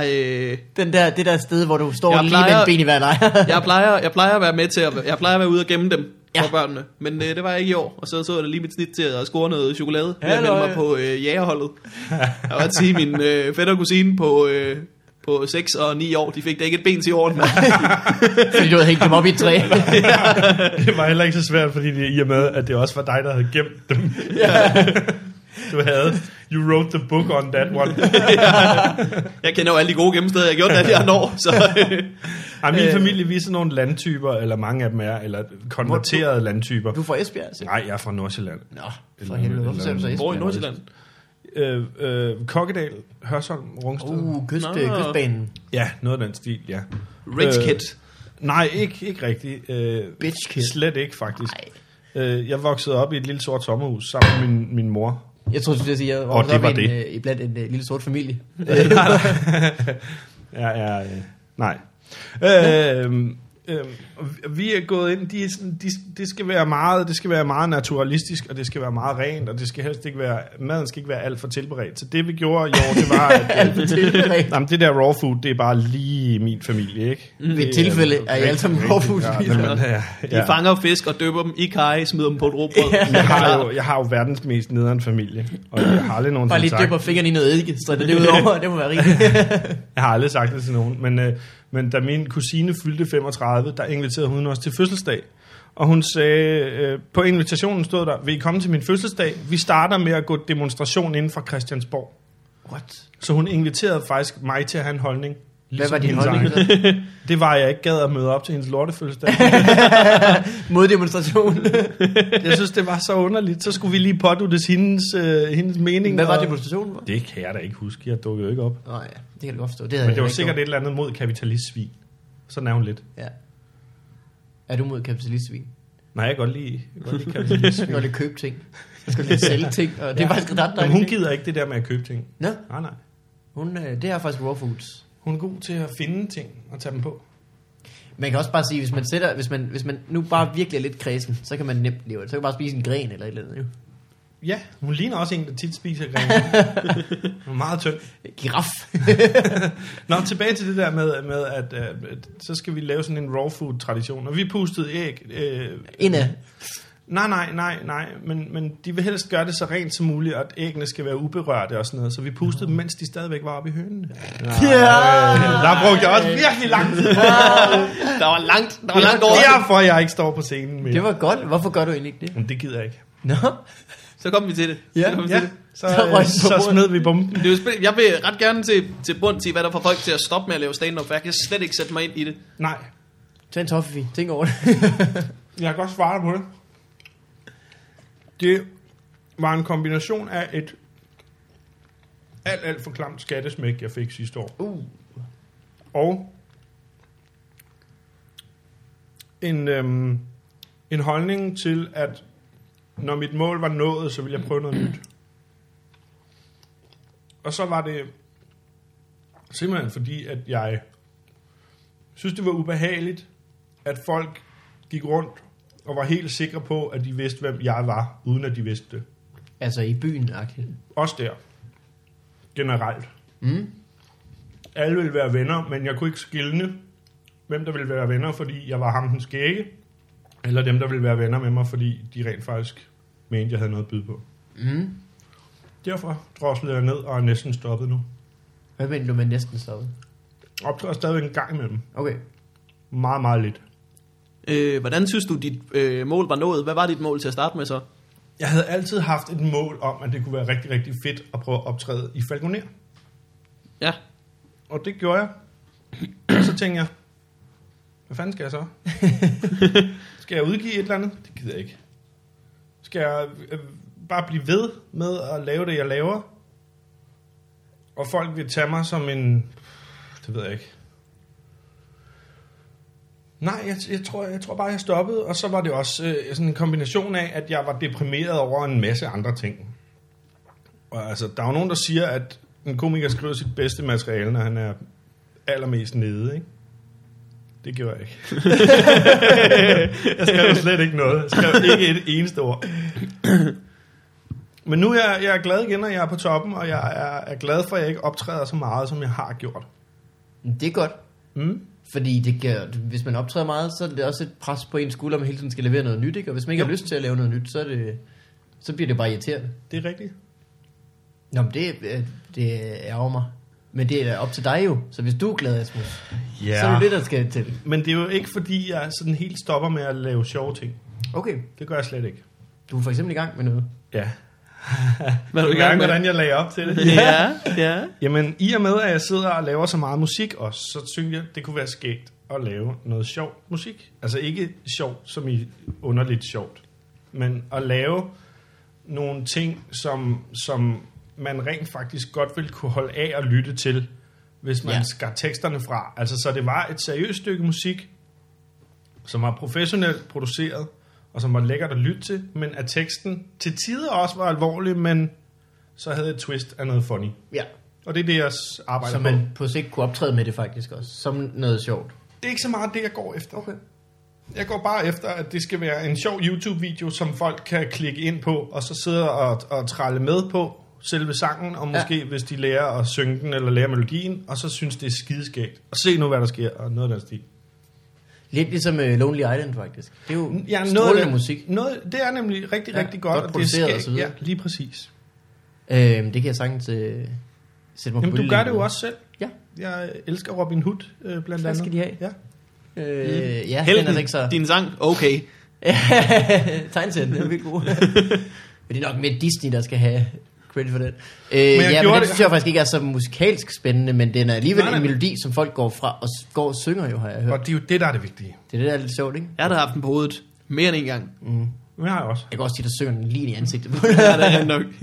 Speaker 1: Øh,
Speaker 2: Den der, det der sted, hvor du står
Speaker 1: Jeg
Speaker 2: lige med
Speaker 1: plejer-
Speaker 2: en ben i hver lejr.
Speaker 1: jeg plejer, jeg plejer at være med til at, jeg plejer at være ude og gemme dem. ja.
Speaker 2: Ja.
Speaker 1: for børnene. Men øh, det var jeg ikke i år, og så så jeg da lige mit snit til at score noget chokolade. ved at
Speaker 2: Halløj.
Speaker 1: melde mig på øh, jægerholdet. Jeg var sige, min øh, fætter og kusine på, øh, på 6 og 9 år, de fik da ikke et ben til i orden.
Speaker 2: Fordi du havde hængt dem op i et træ.
Speaker 3: Det var heller ikke så svært, fordi det, i og med, at det også var dig, der havde gemt dem. du havde, you wrote the book on that one.
Speaker 1: jeg kender jo alle de gode gemmesteder, jeg har gjort, da jeg når. Så, øh,
Speaker 3: Ej, min
Speaker 1: Øh.
Speaker 3: familie, vi er sådan nogle landtyper, eller mange af dem er, eller konverterede landtyper.
Speaker 2: Du får Esbjerg, altså.
Speaker 3: Nej, jeg er fra Nordsjælland.
Speaker 2: Nå, for helvede. Hvorfor ser du så
Speaker 1: hvor i
Speaker 2: Esbjerg?
Speaker 1: Nordsjælland?
Speaker 3: Øh, øh, Kokkedal, Hørsholm, Rungsted. Uh.
Speaker 2: Uh, kyst,
Speaker 1: Nå.
Speaker 2: øh, kystbanen.
Speaker 3: Ja, noget af den stil, ja.
Speaker 1: Rich
Speaker 3: Øh,
Speaker 1: Kid.
Speaker 3: Nej, ikke, ikke rigtigt. Øh,
Speaker 2: Bitch kid.
Speaker 3: Slet ikke, faktisk. Øh, jeg voksede op i et lille sort sommerhus sammen med min, min mor.
Speaker 2: Jeg tror, du skulle sige, at jeg var,
Speaker 3: Og det
Speaker 2: op
Speaker 3: var
Speaker 2: i en,
Speaker 3: det.
Speaker 2: øh, i blandt en øh, lille sort familie.
Speaker 3: Ja, ja, øh, nej. Øh, øh, vi er gået ind, de, er sådan- de, det, skal være meget, det skal være meget naturalistisk, og det skal være meget rent, og det skal helst ikke være, maden skal ikke være alt for tilberedt. Så det vi gjorde i år, det var, at øh,
Speaker 2: Alt ved tilfælde.
Speaker 3: jamen, det der raw food, det er bare lige min familie, ikke?
Speaker 2: Mm. Ved tilfælde er I alle sammen raw food.
Speaker 3: Ja, men, ja,
Speaker 1: De
Speaker 3: ja.
Speaker 1: fanger fisk og døber dem i kaj, smider dem på et råbrød.
Speaker 3: øh, Jeg har, jo, jeg har jo verdens mest nederen familie, og jeg har
Speaker 2: Bare
Speaker 3: aldrig nogensinde
Speaker 2: lige
Speaker 3: sagt,
Speaker 2: døber fingrene i noget eddike, så det er ud over, det må være rigtigt.
Speaker 3: jeg har aldrig sagt det til nogen, men, øh, men da min kusine fyldte 35, der inviterede hun os til fødselsdag. Og hun sagde, øh, på invitationen stod der, vil I komme til min fødselsdag? Vi starter med at gå demonstration inden for Christiansborg.
Speaker 2: What?
Speaker 3: Så hun inviterede faktisk mig til at have en holdning.
Speaker 2: Hvad var din
Speaker 3: hendes
Speaker 2: holdning?
Speaker 3: egen.
Speaker 2: så?
Speaker 3: Det var, at jeg ikke gad at møde op til hendes lortefødselsdag.
Speaker 2: Moddemonstration.
Speaker 3: jeg synes, det var så underligt. Så skulle vi lige påduttes hendes, øh, hendes mening.
Speaker 2: Hvad var
Speaker 3: og-
Speaker 2: demonstrationen for?
Speaker 3: Det kan jeg da ikke huske. Jeg dukkede jo ikke op.
Speaker 2: Nå ja, det kan du godt forstå. Det havde
Speaker 3: Men det
Speaker 2: jeg
Speaker 3: var
Speaker 2: ikke
Speaker 3: sikkert et
Speaker 2: gjort.
Speaker 3: eller andet mod kapitalistsvin. Sådan er hun lidt.
Speaker 2: Ja. Er du mod kapitalistsvin?
Speaker 3: Nej, jeg kan godt lide, jeg kan godt lide kapitalistsvin.
Speaker 2: Du kan lige købe ting. Du skal lige sælge ting, og det er faktisk ret dejligt.
Speaker 3: Men hun
Speaker 2: ikke?
Speaker 3: gider ikke det der med at købe ting.
Speaker 2: Nå,
Speaker 3: Nej, nej.
Speaker 2: hun, øh, det er faktisk raw foods.
Speaker 3: Hun er god til at finde ting og tage dem på.
Speaker 2: Man kan også bare sige, hvis man, sætter, hvis man, hvis man nu bare virkelig er lidt kredsen, så kan man nemt leve det. Så kan man bare spise en gren eller et eller andet. Jo.
Speaker 3: Ja, hun ligner også en, der tit spiser grene. hun er meget tynd.
Speaker 2: Giraf.
Speaker 3: Nå, tilbage til det der med, med at øh, at så skal vi lave sådan en raw food tradition. Og vi pustede æg. Øh,
Speaker 2: Indad.
Speaker 3: nej, nej, nej, nej. Men, men de vil helst gøre det så rent som muligt, og at æggene skal være uberørte og sådan noget. Så vi pustede dem, mens de stadigvæk var oppe i hønene.
Speaker 2: Ah.
Speaker 3: Der brugte jeg også virkelig lang tid.
Speaker 1: Der var langt, der var langt over.
Speaker 3: Derfor jeg ikke står på scenen mere.
Speaker 2: Det var godt. Hvorfor gør du egentlig ikke det?
Speaker 3: Men det gider jeg ikke.
Speaker 2: Nå.
Speaker 1: Så kom vi til det. Så kom vi til
Speaker 3: Ja,
Speaker 1: det.
Speaker 3: så,
Speaker 2: Så røg
Speaker 3: øh,
Speaker 2: den på
Speaker 3: så
Speaker 2: bordet.
Speaker 3: smed vi bomben.
Speaker 1: Det er jo spændende. Jeg vil ret gerne til, til bund til, hvad der får folk til at stoppe med at lave stand-up, for jeg kan slet ikke sætte mig ind i det.
Speaker 3: Nej,
Speaker 2: Tag en toffee. Tænk over det.
Speaker 3: jeg kan godt svare dig på det. Det var en kombination af et alt, alt for klamt skattesmæk, jeg fik sidste år.
Speaker 2: Uh.
Speaker 3: Og en, øhm, en holdning til, at når mit mål var nået, så ville jeg prøve noget nyt. Og så var det simpelthen fordi, at jeg synes, det var ubehageligt, at folk gik rundt og var helt sikre på, at de vidste, hvem jeg var, uden at de vidste det.
Speaker 2: Altså i byen, agtigt.
Speaker 3: Også der. Generelt.
Speaker 2: Mm.
Speaker 3: Alle ville være venner, men jeg kunne ikke skille, hvem der ville være venner, fordi jeg var ham den skægge, eller dem, der ville være venner med mig, fordi de rent faktisk mente, jeg havde noget at byde på.
Speaker 2: Mm.
Speaker 3: Derfor droslede jeg ned og er næsten stoppet nu.
Speaker 2: Hvad mener du med næsten stoppet?
Speaker 3: Optræder stadigvæk en gang imellem.
Speaker 2: Okay.
Speaker 3: Meget, meget lidt.
Speaker 1: Øh, hvordan synes du, dit øh, mål var nået? Hvad var dit mål til at starte med så?
Speaker 3: Jeg havde altid haft et mål om, at det kunne være rigtig, rigtig fedt at prøve at optræde i Falconer.
Speaker 1: Ja.
Speaker 3: Og det gjorde jeg. Og så tænkte jeg, hvad fanden skal jeg så? skal jeg udgive et eller andet? Det gider jeg ikke. Skal jeg øh, bare blive ved med at lave det, jeg laver? Og folk vil tage mig som en... Det ved jeg ikke. Nej, jeg, jeg, tror, jeg tror bare, jeg stoppede. Og så var det også øh, sådan en kombination af, at jeg var deprimeret over en masse andre ting. Og altså, der er jo nogen, der siger, at en komiker skriver sit bedste materiale, når han er allermest nede, ikke? Det gjorde jeg ikke. jeg skrev slet ikke noget. Jeg skrev ikke et eneste ord. Men nu er jeg, jeg er glad igen, og jeg er på toppen, og jeg er, er glad for, at jeg ikke optræder så meget, som jeg har gjort.
Speaker 2: Men Det er godt.
Speaker 3: Mm.
Speaker 2: Fordi det gør, hvis man optræder meget, så er det også et pres på ens skulder, at man hele tiden skal levere noget nyt. Ikke? Og hvis man ikke jo. har lyst til at lave noget nyt, så, er det, så bliver det bare irriterende.
Speaker 3: Det er rigtigt.
Speaker 2: Nå, men det, øh, det ærger mig. Men det er op til dig jo. Så hvis du er glad, Asmus, ja. så er det det, der skal til.
Speaker 3: Men det er jo ikke, fordi jeg sådan helt stopper med at lave sjove ting.
Speaker 2: Okay,
Speaker 3: Det gør jeg slet ikke.
Speaker 2: du er for eksempel i gang med noget.
Speaker 3: Ja.
Speaker 1: Hvad er
Speaker 3: Du
Speaker 1: du i gang
Speaker 3: mærker,
Speaker 1: med?
Speaker 3: hvordan jeg lagde op til det.
Speaker 1: Ja, ja.
Speaker 3: Jamen, i og med, at jeg sidder og laver så meget musik også, så synes jeg, det kunne være skægt at lave noget sjov musik. Altså ikke sjov, som i underligt sjovt, men at lave nogle ting, som, som man rent faktisk godt ville kunne holde af at lytte til, hvis man
Speaker 2: Ja.
Speaker 3: ja. skar teksterne fra. Altså, så det var et seriøst stykke musik, som var professionelt produceret, og som var lækkert at lytte til, men at teksten til tider også var alvorlig, men så havde et twist af noget funny.
Speaker 2: Ja.
Speaker 3: Og det er det, jeg s- arbejder
Speaker 2: Så
Speaker 3: på.
Speaker 2: man på sigt kunne optræde med det faktisk også, som noget sjovt.
Speaker 3: Det er ikke så meget det, jeg går efter. Okay. Jeg går bare efter, at det skal være en sjov YouTube-video, som folk kan klikke ind på, og så sidde og, og tralle med på selve sangen, og måske ja. hvis de lærer at synge den, eller lærer melodien, og så synes det er skideskægt. Og se nu, hvad der sker, og noget af den stil.
Speaker 2: Lidt ligesom uh, Lonely Island faktisk. Det er jo ja,
Speaker 3: noget,
Speaker 2: strålende
Speaker 3: af-
Speaker 2: musik.
Speaker 3: Noget, det er nemlig rigtig,
Speaker 2: Ja,
Speaker 3: ja, rigtig godt,
Speaker 2: godt
Speaker 3: og det er
Speaker 2: produceret og så
Speaker 3: skægt.
Speaker 2: videre.
Speaker 3: Ja, lige præcis.
Speaker 2: Øhm, det kan jeg sagtens øh, sætte mig
Speaker 3: Jamen,
Speaker 2: på
Speaker 3: du gør
Speaker 2: bølgelængde
Speaker 3: det jo
Speaker 2: med.
Speaker 3: også selv.
Speaker 2: Ja.
Speaker 3: Jeg elsker Robin Hood, øh, blandt andet.
Speaker 2: Tak skal de have.
Speaker 3: Ja.
Speaker 2: Øh, ja, den er altså
Speaker 1: Helten,
Speaker 2: ikke så...
Speaker 1: din sang, okay.
Speaker 2: Tegnsætten, den er virkelig god. Men det er nok mere Disney, der skal have credit for den. Øh, men
Speaker 3: jeg
Speaker 2: ja, men
Speaker 3: gjorde
Speaker 2: den
Speaker 3: det-
Speaker 2: synes jeg faktisk ikke er så musikalsk spændende, men den er alligevel
Speaker 3: Nej,
Speaker 2: en
Speaker 3: nej.
Speaker 2: melodi, som folk går fra og s- går og synger jo, har jeg hørt.
Speaker 3: Og det er jo det, der er det vigtige.
Speaker 2: Det er det, der er lidt sjovt, ikke?
Speaker 1: Jeg har da haft den på hovedet mere end en gang.
Speaker 3: Men jeg har jeg også.
Speaker 2: Jeg kan også sige, der synger den lige i ansigtet.
Speaker 1: Ja, det er nok.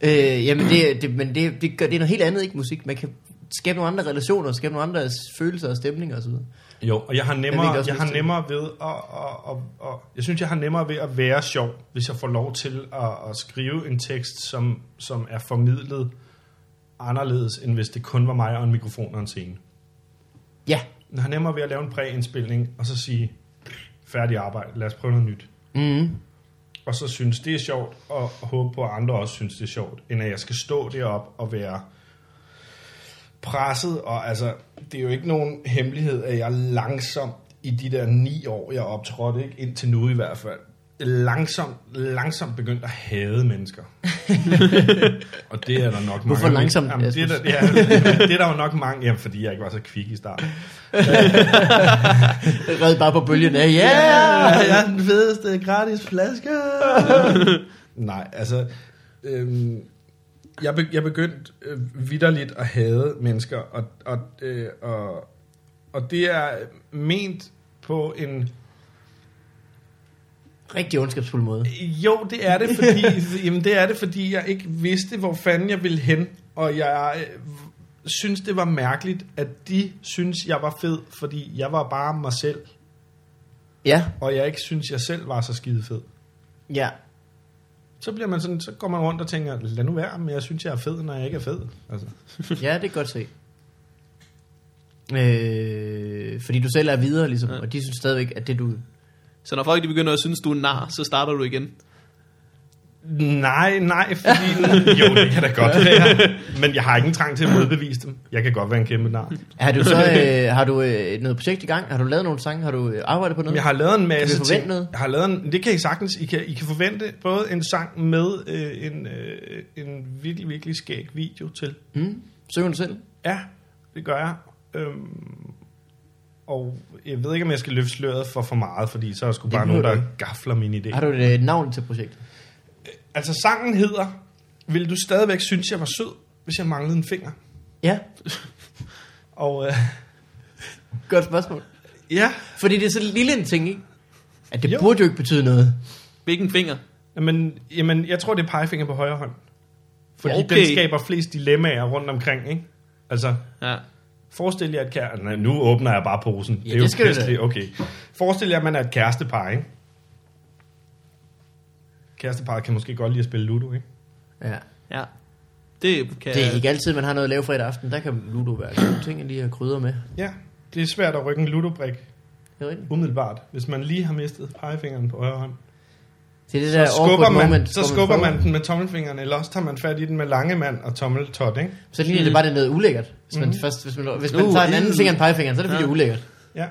Speaker 2: øh, jamen, det, det, men det, det, gør, det er noget helt andet, ikke musik? Man kan skabe nogle andre relationer, skabe nogle andre s- følelser og stemninger osv.
Speaker 3: Jo, og jeg har
Speaker 2: Jeg
Speaker 3: nemmere,
Speaker 2: fik
Speaker 3: jeg,
Speaker 2: også
Speaker 3: jeg har
Speaker 2: lyst til
Speaker 3: nemmere ved at, at, at, at, jeg synes, jeg har nemmere ved at være sjov, hvis jeg får lov til at, at skrive en tekst, som, som er formidlet anderledes, end hvis det kun var mig og en mikrofon og en scene.
Speaker 2: Ja.
Speaker 3: Jeg har nemmere ved at lave en præindspilning, og så sige, færdig arbejde, lad os prøve noget nyt.
Speaker 2: Mm.
Speaker 3: Og så synes det er sjovt, og håbe på, at andre også synes det er sjovt, end at jeg skal stå derop og være presset, og altså, det er jo ikke nogen hemmelighed, at jeg langsomt i de der ni år, jeg optrådte, ikke? indtil nu i hvert fald, langsomt, langsomt begyndt at hade mennesker. og det er der nok mange...
Speaker 2: Hvorfor
Speaker 3: af mine-
Speaker 2: langsomt,
Speaker 3: Jamen, det, er der,
Speaker 2: Rasmus?
Speaker 3: ja, det er der jo nok mange... Jamen, fordi jeg ikke var så kvik i starten.
Speaker 2: Red bare på bølgen af, ja! Yeah!
Speaker 3: jeg er den fedeste gratis flaske. Nej, altså... Øhm, jeg, be, jeg begyndte øh, vidderligt at hade mennesker, og, og, øh, og, og det er ment på en...
Speaker 2: Rigtig ondskabsfuld måde.
Speaker 3: Jo, det er det, fordi, jamen, det er det, fordi jeg ikke vidste, hvor fanden jeg ville hen, og jeg øh, synes, det var mærkeligt, at de synes, jeg var fed, fordi jeg var bare mig selv,
Speaker 2: Ja,
Speaker 3: og jeg ikke synes, jeg selv var så skide fed.
Speaker 2: ja.
Speaker 3: så bliver man sådan, så går man rundt og tænker, lad nu være, men jeg synes, jeg er fed, når jeg ikke er fed. Altså.
Speaker 2: Ja, det kan godt se. Øh, fordi du selv er videre, ligesom, ja. og de synes stadigvæk, at det du...
Speaker 1: Så når folk de begynder at synes, du er en nar, så starter du igen.
Speaker 3: Nej, nej, fordi... jo, det kan da godt være. Men jeg har ingen trang til at modbevise dem. Jeg kan godt være en kæmpe nar.
Speaker 2: Har du så øh, har du øh, noget projekt i gang? Har du lavet nogle sange? Har du øh, arbejdet på noget?
Speaker 3: Men jeg har lavet en masse
Speaker 2: Kan vi forvente
Speaker 3: ting.
Speaker 2: noget?
Speaker 3: Jeg har lavet en, det kan I sagtens. I kan, I kan forvente både en sang med øh, en, øh, en virkelig, virkelig skæg video til.
Speaker 2: Mm? Synger du selv?
Speaker 3: Ja, det gør jeg. Øhm, og jeg ved ikke, om jeg skal løfte sløret for for meget, fordi så er der sgu
Speaker 2: Det
Speaker 3: bare nogen,
Speaker 2: behøver
Speaker 3: der
Speaker 2: du
Speaker 3: gafler min idé.
Speaker 2: Har du et øh, navn til projektet?
Speaker 3: Altså sangen hedder Vil du stadigvæk synes jeg var sød Hvis jeg manglede en finger
Speaker 2: Ja,
Speaker 3: Og øh,
Speaker 2: godt spørgsmål.
Speaker 3: ja
Speaker 2: Fordi det er så lille en ting, ikke? At det jo.
Speaker 3: Jo.
Speaker 2: burde jo ikke betyde noget.
Speaker 1: Hvilken finger?
Speaker 3: men, jamen, Jeg tror det er pegefinger på højre hånd Fordi
Speaker 1: Ja,
Speaker 3: okay.
Speaker 1: okay.
Speaker 3: den skaber flest dilemmaer rundt omkring ikke? Altså
Speaker 1: Ja.
Speaker 3: forestil jer et kære... Nej, nu åbner jeg bare posen ja,
Speaker 2: det skal du da.
Speaker 3: pisselig- okay. Forestil jer at man er et kærestepar ikke? Kærestepar kan måske godt lide at spille Ludo ikke?
Speaker 2: Ja.
Speaker 1: Ja. Det kan
Speaker 2: Det er ikke altid, man har noget at lave fredag aften. Der kan Ludo være en god ting, at lige at krydre med.
Speaker 3: Ja det er svært at rykke en ludobrik
Speaker 2: Det er rigtigt.
Speaker 3: umiddelbart, hvis man lige har mistet pegefingeren på højre hånd.
Speaker 2: Det er det der
Speaker 3: Så skubber,
Speaker 2: awkward
Speaker 3: man,
Speaker 2: moment,
Speaker 3: så
Speaker 2: hvor
Speaker 3: skubber
Speaker 2: prøver.
Speaker 3: man den med tommelfingeren, eller også tager man fat i den med lange mand og tommeltot, ikke?
Speaker 2: Så ligner det bare, det er noget ulækkert. Hvis man, først, hvis man, hvis man
Speaker 1: Uh,
Speaker 2: tager en anden
Speaker 1: ew.
Speaker 2: finger end pegefingeren, så er det fordi,
Speaker 1: Ja.
Speaker 2: det er ulækkert.
Speaker 3: Ja.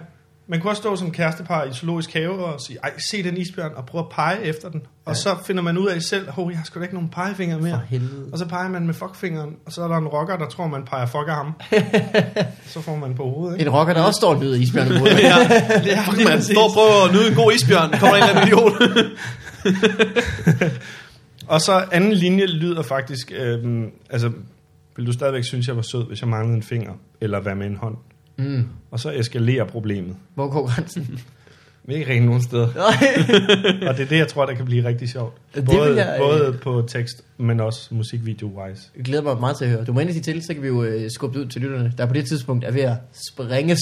Speaker 3: Man kunne også stå som kærestepar i zoologisk have og sige, ej, se den isbjørn, og prøve at pege efter den. Og så finder man ud af selv, hov, jeg har sgu da ikke nogen pegefingre
Speaker 2: For
Speaker 3: mere.
Speaker 2: helvede.
Speaker 3: Og så peger man med fuckfingeren, og så er der en rocker, der tror, man peger fucker ham. så får man på hovedet, ikke?
Speaker 2: En rocker, der også står og nyder isbjørn på hovedet.
Speaker 1: Ja,
Speaker 3: Ja,
Speaker 1: fuck man, står og prøver at nyde en god isbjørn, kommer der en eller anden idiot.
Speaker 3: Og så anden linje lyder faktisk, øhm, altså, vil du stadigvæk synes, jeg var sød, hvis jeg manglede en finger, eller hvad med en hånd?
Speaker 2: Mm.
Speaker 3: Og så eskalerer problemet.
Speaker 2: Hvor går grænsen?
Speaker 3: Vi er ikke rent nogen steder.
Speaker 2: Nej.
Speaker 3: Og det er det, jeg tror, der kan blive rigtig sjovt.
Speaker 2: Det
Speaker 3: Både,
Speaker 2: vil jeg, øh,
Speaker 3: både på tekst, men også musikvideo-wise.
Speaker 2: Jeg glæder mig meget til at høre. Du må endelig sige til, så kan vi jo øh, skubbe det ud til lytterne, der på det tidspunkt er ved at sprænges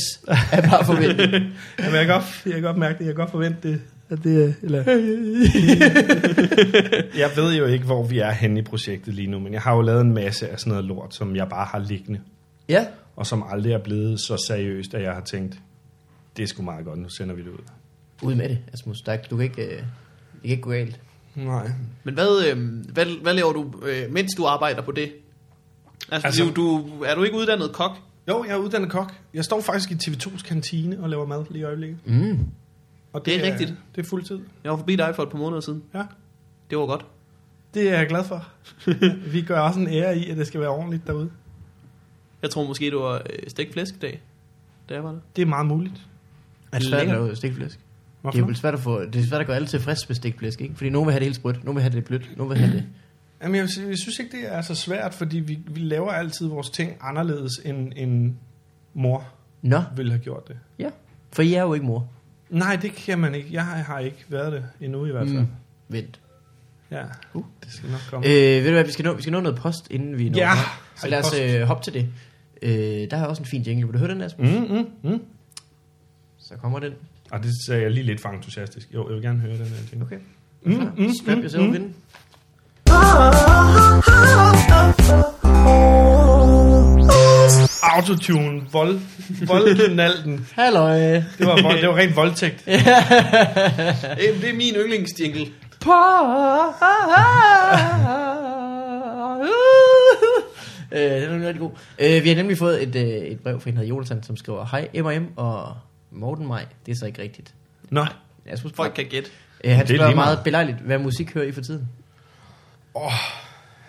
Speaker 2: af bare forventning.
Speaker 3: Jamen, jeg kan godt, jeg kan godt mærke det. Jeg kan godt forvente det. At det eller... jeg ved jo ikke, hvor vi er henne i projektet lige nu, men jeg har jo lavet en masse af sådan noget lort, som jeg bare har liggende,
Speaker 2: Ja,
Speaker 3: og som aldrig er blevet så seriøst, at jeg har tænkt, det er sgu meget godt, nu sender vi det ud.
Speaker 2: ud med det, Asmus. Der, er ikke- du kan ikke, øh, det kan ikke gå galt.
Speaker 3: Nej.
Speaker 1: Men hvad, øh, hvad, hvad laver du, øh, mens du arbejder på det? Altså,
Speaker 3: Altså-
Speaker 1: altså, du, du, er du ikke uddannet kok?
Speaker 3: Jo, jeg er uddannet kok. Jeg står faktisk i TV2's kantine og laver mad lige i øjeblikket.
Speaker 2: Mm.
Speaker 3: Og
Speaker 1: Det er rigtigt.
Speaker 3: Det er fuldtid.
Speaker 1: Jeg var forbi dig for et par måneder siden.
Speaker 3: Ja.
Speaker 1: Det var godt.
Speaker 3: Det er jeg glad for. vi gør også en ære i, at det skal være ordentligt derude.
Speaker 1: Jeg tror måske, det var øh, stegt flæskdag, da jeg var der.
Speaker 3: Det er meget muligt.
Speaker 2: Er det svært at
Speaker 1: Lækkert.
Speaker 2: lave stikflæsk? Det
Speaker 3: Hvorfor?
Speaker 2: er vel svært at, få, det er svært at gøre alle tilfreds med stikflæsk, ikke? Fordi nogen vil have det helt sprødt, nogen vil have det blødt, nogen vil have det...
Speaker 3: Jamen, jeg, vil sige, jeg synes ikke, det er så svært, fordi vi, vi laver altid vores ting anderledes, end, end mor
Speaker 2: Nå,
Speaker 3: ville have gjort det.
Speaker 2: ja. For I er jo ikke mor.
Speaker 3: Nej, det kan man ikke. Jeg har, har ikke været det endnu i hvert
Speaker 2: altså-
Speaker 3: fald. Mm.
Speaker 2: Vent.
Speaker 3: Ja,
Speaker 2: Uh.
Speaker 3: det skal nok komme.
Speaker 2: Øh, ved du hvad, vi skal, nå, vi skal nå noget post, inden vi når
Speaker 3: Ja.
Speaker 2: frem. Så lad os øh, hoppe til det. Øh, der er også en fin jingle. Vil du høre den, Asmus?
Speaker 3: Mm, mm, mm.
Speaker 2: Så kommer den.
Speaker 3: Og det sagde jeg lige lidt for entusiastisk. Jo, jeg vil gerne høre den her ting.
Speaker 2: Okay.
Speaker 3: Mm,
Speaker 2: Klar.
Speaker 3: mm,
Speaker 2: Strap
Speaker 3: mm,
Speaker 2: yourself
Speaker 3: mm.
Speaker 2: in.
Speaker 4: Ah, Oh,
Speaker 3: Autotune, vold, voldknalden.
Speaker 2: Halløj.
Speaker 3: Det var, vold, det var ren voldtægt.
Speaker 1: Øh, det er min yndlingsjingle.
Speaker 2: Øh, den er nemlig rigtig god. Øh, vi har nemlig fået et, øh, et brev fra en, der hedder Jonathan, som skriver, Hej M&M og Morten Maj. Det er så ikke rigtigt.
Speaker 3: Nå,
Speaker 2: Asmus
Speaker 1: Folk kan gætte.
Speaker 2: Øh, han
Speaker 3: Det er
Speaker 2: spørger
Speaker 3: lige meget.
Speaker 2: meget belejligt, hvad musik hører I for tiden?
Speaker 3: Åh.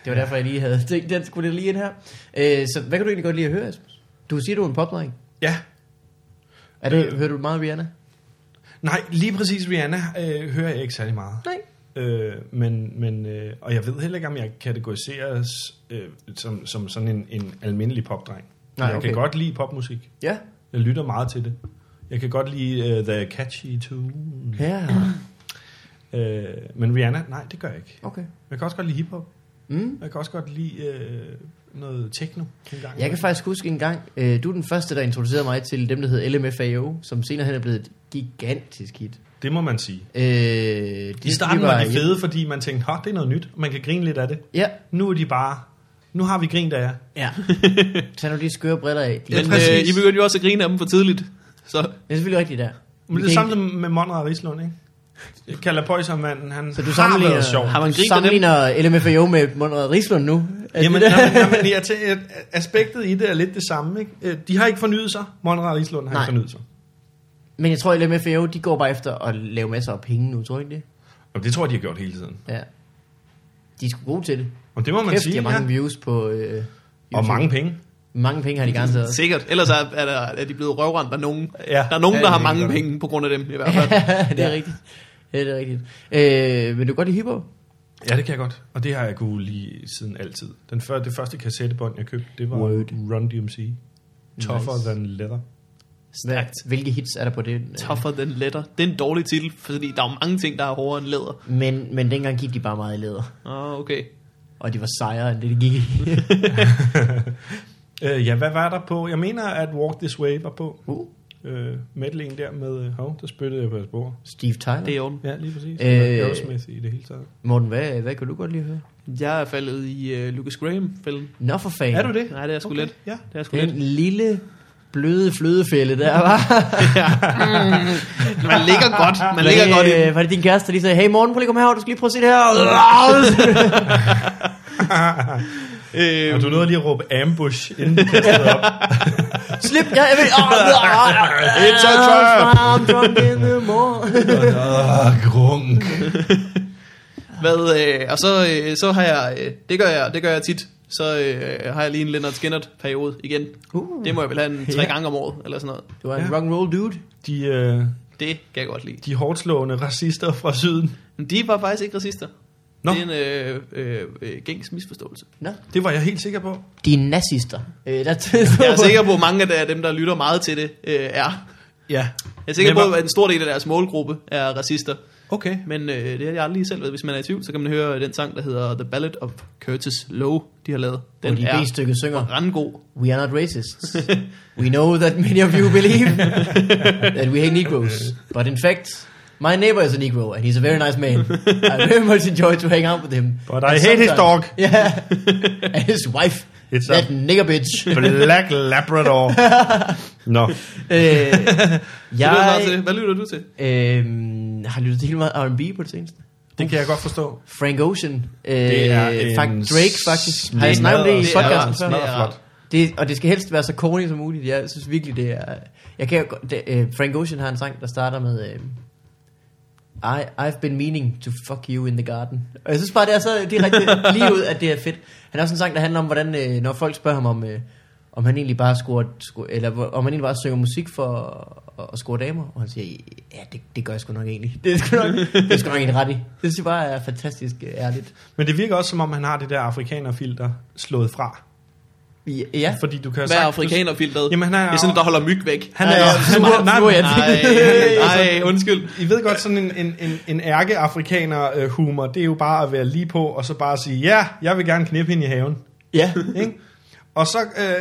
Speaker 2: Det var derfor, jeg lige havde tænkt, den skulle det lige ind her. Øh, så hvad kan du egentlig godt lide at høre, Asmus? Du siger, du er en popdreng.
Speaker 3: ja.
Speaker 2: Er det, hører du meget Rihanna?
Speaker 3: Nej, lige præcis Rihanna øh, hører jeg ikke særlig meget.
Speaker 2: Nej.
Speaker 3: Øh, men, men, øh, og jeg ved heller ikke, om jeg kategoriseres øh, som, som sådan en, en almindelig popdreng.
Speaker 2: Nej,
Speaker 3: jeg
Speaker 2: okay.
Speaker 3: kan godt lide popmusik.
Speaker 2: Ja.
Speaker 3: Jeg lytter meget til det. Jeg kan godt lide uh, The Catchy Tune.
Speaker 2: Ja,
Speaker 3: Uh, men Rihanna, nej, det gør jeg ikke.
Speaker 2: okay.
Speaker 3: Jeg kan også godt lide hiphop.
Speaker 2: Mm.
Speaker 3: Jeg kan også godt lide uh, noget techno. En gang.
Speaker 2: Jeg kan faktisk huske en gang, øh, du er den første, der introducerede mig til dem, der hedder LMFAO, som senere hen er blevet et gigantisk hit.
Speaker 3: Det må man sige.
Speaker 2: Øh, de,
Speaker 3: I starten var de fede, fordi man tænkte, "Hå, det er noget nyt, og man kan grine lidt af det.
Speaker 2: Ja,
Speaker 3: Nu er de bare, nu har vi grint af jer.
Speaker 2: ja. Tag nu de skøre briller af. De,
Speaker 1: Men
Speaker 2: men,
Speaker 1: øh,
Speaker 3: præcis.
Speaker 1: I begyndte jo også at grine af dem for tidligt. Så
Speaker 2: det er selvfølgelig rigtigt der.
Speaker 3: Men
Speaker 2: Vi
Speaker 3: det er
Speaker 2: kan
Speaker 3: det samme som med Monrad og Rislund, ikke? Jeg kalder Pøjsermanden, han
Speaker 2: Så du
Speaker 3: har
Speaker 2: sammenligner,
Speaker 3: været sjov.
Speaker 1: har man
Speaker 2: du
Speaker 1: grint af dem?
Speaker 2: sammenligner LMFAO med Monrad Rislund nu? Er
Speaker 3: Jamen,
Speaker 2: det,
Speaker 3: jamen, jamen jeg tæ- at- at aspektet i det er lidt det samme, ikke? Øh, De har ikke fornyet sig. Monrad og Rislund har
Speaker 2: Nej.
Speaker 3: ikke fornyet sig.
Speaker 2: men jeg tror, LMFAO, de går bare efter at lave masser af penge nu, tror jeg ikke det?
Speaker 3: Og det tror jeg, de har gjort hele tiden.
Speaker 2: Ja. De er sgu gode til det.
Speaker 3: Og det må man
Speaker 2: Kæft,
Speaker 3: sige,
Speaker 2: de har mange
Speaker 3: ja.
Speaker 2: views på... Øh,
Speaker 3: Og
Speaker 2: YouTube.
Speaker 3: mange penge.
Speaker 2: mange penge har de garanteret også.
Speaker 1: sikkert. Ellers er, er, der, er de blevet røvrendt af nogen.
Speaker 3: Ja.
Speaker 1: Der er nogen,
Speaker 2: Ja,
Speaker 1: der
Speaker 2: det
Speaker 1: har
Speaker 2: er
Speaker 1: mange
Speaker 3: godt.
Speaker 1: penge på grund af dem i hvert fald.
Speaker 2: det er rigtigt. Ja, det er rigtigt. Øh, vil du godt lide hiphop?
Speaker 3: Ja, det kan jeg godt. Og det har jeg kunne lige siden altid. Den før, det første kassettebånd, jeg købte, det var
Speaker 2: Word.
Speaker 3: Run DMC. Tougher nice. than leather.
Speaker 2: Hvad, hvilke hits er der på det?
Speaker 1: Tougher than leather. Det er en dårlig titel, fordi der er jo mange ting, der er hårdere end læder.
Speaker 2: Men, men dengang gik de bare meget i læder.
Speaker 1: Ah, okay.
Speaker 2: Og de var sejere end det, de gik i.
Speaker 3: Øh, ja, hvad var der på? Jeg mener, at Walk This Way var på.
Speaker 2: uh,
Speaker 3: Øh, medleyen der med, øh, hov, der spyttede jeg på et spor.
Speaker 2: Steve Tyler.
Speaker 1: Det er i orden.
Speaker 3: Ja, lige præcis.
Speaker 2: Øh.
Speaker 3: Øh, Aerosmith i det hele taget.
Speaker 2: Morten, hvad, hvad kan du godt lide at høre?
Speaker 1: Jeg er faldet i uh, Lucas Graham-fælden.
Speaker 2: Nå for fanden.
Speaker 3: Er du det?
Speaker 1: Nej, det er sgu let.
Speaker 3: Ja.
Speaker 1: Det er sgu
Speaker 2: Den
Speaker 1: let.
Speaker 2: lille bløde flødefælde der, var.
Speaker 1: Man ligger godt. Man ligger godt i
Speaker 3: øh,
Speaker 1: den.
Speaker 2: Var det din kæreste, der lige sagde, hey morgen, prøv lige at komme herover, du skal lige prøve at se det her.
Speaker 3: Og
Speaker 1: Øh,
Speaker 3: du nåede lige at råbe ambush, inden du kastede op.
Speaker 2: Slip, ja, jeg vil. Oh,
Speaker 3: It's a trap. Ah, grunk.
Speaker 1: hvad, øh, og så, øh, så har jeg, øh, det gør jeg, det gør jeg tit, så øh, har jeg lige en Leonard Skinnert periode igen.
Speaker 2: Uh.
Speaker 1: Det må jeg vel have en tre
Speaker 2: Ja.
Speaker 1: gange om året, eller sådan noget.
Speaker 2: Du er en rock'n'roll dude.
Speaker 3: De, øh,
Speaker 1: Det kan jeg godt lide.
Speaker 3: de hårdslående racister fra syden.
Speaker 1: Men de var faktisk ikke racister.
Speaker 3: Nå.
Speaker 1: Det er en øh, øh, øh, gængs misforståelse.
Speaker 2: Nå,
Speaker 3: Det var jeg helt sikker på.
Speaker 2: de er nazister. Øh, der
Speaker 1: Jeg er sikker på, at mange af dem, der lytter meget til det, øh, er.
Speaker 3: Ja.
Speaker 1: Jeg er sikker
Speaker 3: Men
Speaker 1: på,
Speaker 3: hvor-
Speaker 1: at en stor del af deres målgruppe er racister.
Speaker 3: Okay.
Speaker 1: Men øh, det har jeg aldrig lige selv ved. Hvis man er i tvivl, så kan man høre øh, den sang, der hedder The Ballad of Curtis Lowe, de har lavet. Den
Speaker 2: Den de
Speaker 1: er
Speaker 2: B-stykke synger,
Speaker 1: randgod.
Speaker 2: we are not racists. We know that many of you believe that we hate Negroes. But in fact, my neighbor is a Negro, and he's a very nice man. I very much enjoy to hang out with him.
Speaker 3: But I hate his dog.
Speaker 2: Yeah. And his wife.
Speaker 3: It's
Speaker 2: that
Speaker 3: a-
Speaker 2: nigger bitch.
Speaker 3: Black Labrador. Nå.
Speaker 2: øh,
Speaker 1: Ja, det lyder til.
Speaker 2: jeg
Speaker 1: Hvad lytter du til?
Speaker 2: øhm, har lyttet til helt meget R&B på det seneste.
Speaker 3: Det kan jeg godt forstå.
Speaker 2: Frank Ocean. Øh,
Speaker 3: Det er en
Speaker 2: fak- Drake, faktisk. Har jeg snakket
Speaker 3: smadret-
Speaker 2: om det i
Speaker 1: det er
Speaker 2: podcasten
Speaker 1: ret- det er
Speaker 2: før?
Speaker 1: ret.
Speaker 2: Det, og det skal helst være så corny som muligt. Jeg synes virkelig, det er... Jeg kan, jo godt- det, øh, Frank Ocean har en sang, der starter med... Øh, I, I've been meaning to fuck you in the garden. Og jeg synes bare, det er så direkte lige ud, at det er fedt. Han har også en sang, der handler om, hvordan, øh, når folk spørger ham om, øh, om han egentlig bare scorer, sco- eller hvor- om han egentlig bare synger musik for at, at score damer, og han siger, ja, det, det gør jeg sgu nok egentlig. Det er sgu nok, det er sgu nok egentlig ret i. Det synes jeg bare er fantastisk øh, ærligt.
Speaker 3: Men det virker også, som om han har det der afrikanerfilter slået fra.
Speaker 2: Ja, ja.
Speaker 3: Fordi du kan
Speaker 1: Hvad er
Speaker 3: sagtens-
Speaker 1: afrikanerfilteret?
Speaker 3: Jamen, han er-
Speaker 1: det er sådan, der holder myg væk.
Speaker 3: Han
Speaker 2: Nej,
Speaker 3: er...
Speaker 2: ja,
Speaker 3: Han
Speaker 2: fluer-
Speaker 3: er nej, altså,
Speaker 2: fluer, ja.
Speaker 1: Nej, nej, undskyld.
Speaker 3: I ved godt, sådan en, en, en, en ærke-afrikaner-humor, det er jo bare at være lige på, og så bare sige, ja, jeg vil gerne knippe hende i haven.
Speaker 2: ja.
Speaker 3: Ikke? Og så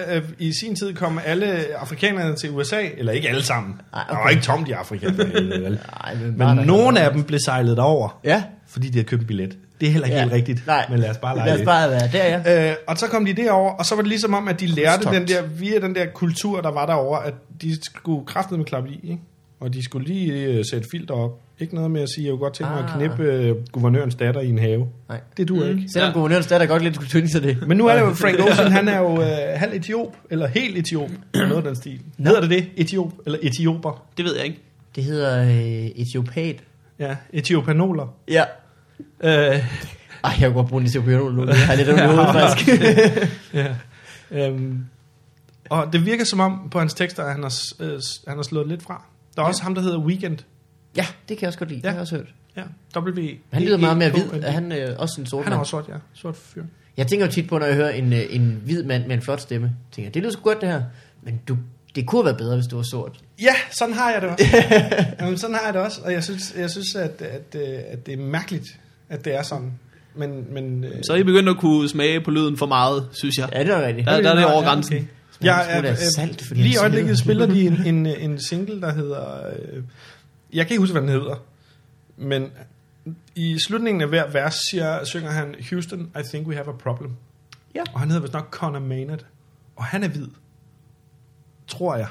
Speaker 3: øh, øh, i sin tid kom alle afrikanerne til USA, eller ikke alle sammen.
Speaker 2: Ej,
Speaker 3: Der var
Speaker 2: okay.
Speaker 3: ikke tomt i Afrika. vel?
Speaker 2: Ej, men bare
Speaker 3: Men
Speaker 2: der-
Speaker 3: nogle af dem blev sejlet over,
Speaker 2: Ja.
Speaker 3: fordi de havde købt en billet. Det er heller ikke
Speaker 2: Ja.
Speaker 3: helt rigtigt,
Speaker 2: Nej.
Speaker 3: men lad os bare lege
Speaker 2: Lad os
Speaker 3: det.
Speaker 2: bare være der, ja.
Speaker 3: Øh, og så kom de derover, og så var det ligesom om, at de lærte
Speaker 2: Stokt.
Speaker 3: den der, via den der kultur, der var derover, at de skulle kraftet med klappe i, ikke? og de skulle lige øh, sætte filter op. Ikke noget med at sige, jeg kunne godt tænke mig at
Speaker 2: Ah.
Speaker 3: knippe øh, guvernørens datter i en have.
Speaker 2: Nej.
Speaker 3: Det duer
Speaker 1: Mm.
Speaker 3: ikke.
Speaker 2: Selvom
Speaker 1: Ja.
Speaker 2: guvernørens datter godt lidt kunne tynde sig det.
Speaker 3: Men nu er det jo Frank Ocean, han er jo øh, halv etiop, eller helt etiop, eller noget af den stil.
Speaker 2: Nå.
Speaker 3: Hedder det det? Etiop, eller etioper?
Speaker 1: Det ved jeg ikke.
Speaker 2: Det hedder øh, etiopat.
Speaker 3: Ja, etiopanoler.
Speaker 2: Ja.
Speaker 3: Øh,
Speaker 2: Ej, jeg kunne godt bruge en etiopianol nu. Jeg har lidt ondt i hovedet, faktisk.
Speaker 3: ja. Øhm, og det virker som om på hans tekster, at han har, s- øh, s- han har slået lidt fra. Der er også ham, der hedder Weekend.
Speaker 2: ja, det kan jeg også godt lide. Ja. Det har jeg også hørt.
Speaker 3: Ja, W. E
Speaker 2: Han lyder meget mere hvid. Er
Speaker 3: Han,
Speaker 2: han øh, også en sort
Speaker 3: han er
Speaker 2: mand?
Speaker 3: også sort, ja. Sort fyr.
Speaker 2: Jeg tænker jo tit på, når jeg hører en, øh, en hvid mand med en flot stemme. Tænker, jeg, det lyder sgu godt, det her. Men du, det kunne have været bedre, hvis du var sort.
Speaker 3: Ja, sådan har jeg det også. Jamen, sådan har jeg det også, og jeg synes, jeg synes at, at, øh, at det er mærkeligt, at det er sådan. Men, men øh,
Speaker 1: Så er I begyndt at kunne smage på lyden for meget, synes jeg.
Speaker 2: Ja, det er rigtigt.
Speaker 1: Der, der er det over
Speaker 3: Ja, okay.
Speaker 1: grænsen.
Speaker 3: Jeg
Speaker 2: Han
Speaker 3: er,
Speaker 2: smutter
Speaker 3: øh,
Speaker 2: af salt, fordi
Speaker 3: lige i
Speaker 2: han
Speaker 3: øjeblikket
Speaker 2: smider.
Speaker 3: spiller de en, en, en single, der hedder... Øh, jeg kan ikke huske, hvad den hedder. Men i slutningen af hver vers siger, synger han, Houston, I think we have a problem.
Speaker 2: Ja.
Speaker 3: Og han hedder vist nok Connor Maynard. Og han er hvid. Tror jeg.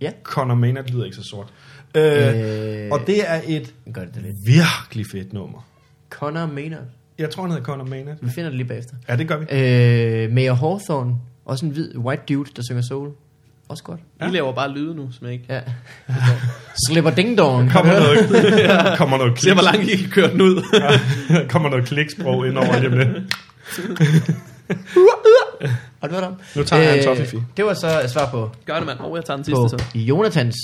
Speaker 2: Ja.
Speaker 3: Connor Maynard lyder ikke så sort. Øh, øh.
Speaker 2: Øh,
Speaker 3: Og det er et
Speaker 2: Gør det da lidt.
Speaker 3: virkelig fedt nummer.
Speaker 2: Connor Maynard.
Speaker 3: Jeg tror, han hedder Connor Maynard.
Speaker 2: Vi finder det lige bagefter.
Speaker 3: Ja, det gør vi.
Speaker 2: Øh, Mayor Hawthorne. Også en hvid white dude, der synger soul. Også godt.
Speaker 1: I laver bare lyde nu, som jeg ikke...
Speaker 2: Ja. Slipper ding dong.
Speaker 3: Kommer noget, kommer noget
Speaker 1: Se, hvor
Speaker 3: kliks-
Speaker 1: langt I kan køre den ud.
Speaker 3: Ja, kommer noget kliksprog ind over det med.
Speaker 2: Har du hørt om?
Speaker 3: Nu tager jeg en toffee.
Speaker 2: Det var så et svar på,
Speaker 1: Gør det, mand. Oh, jeg tager den sidste,
Speaker 2: på
Speaker 1: så.
Speaker 2: Jonathans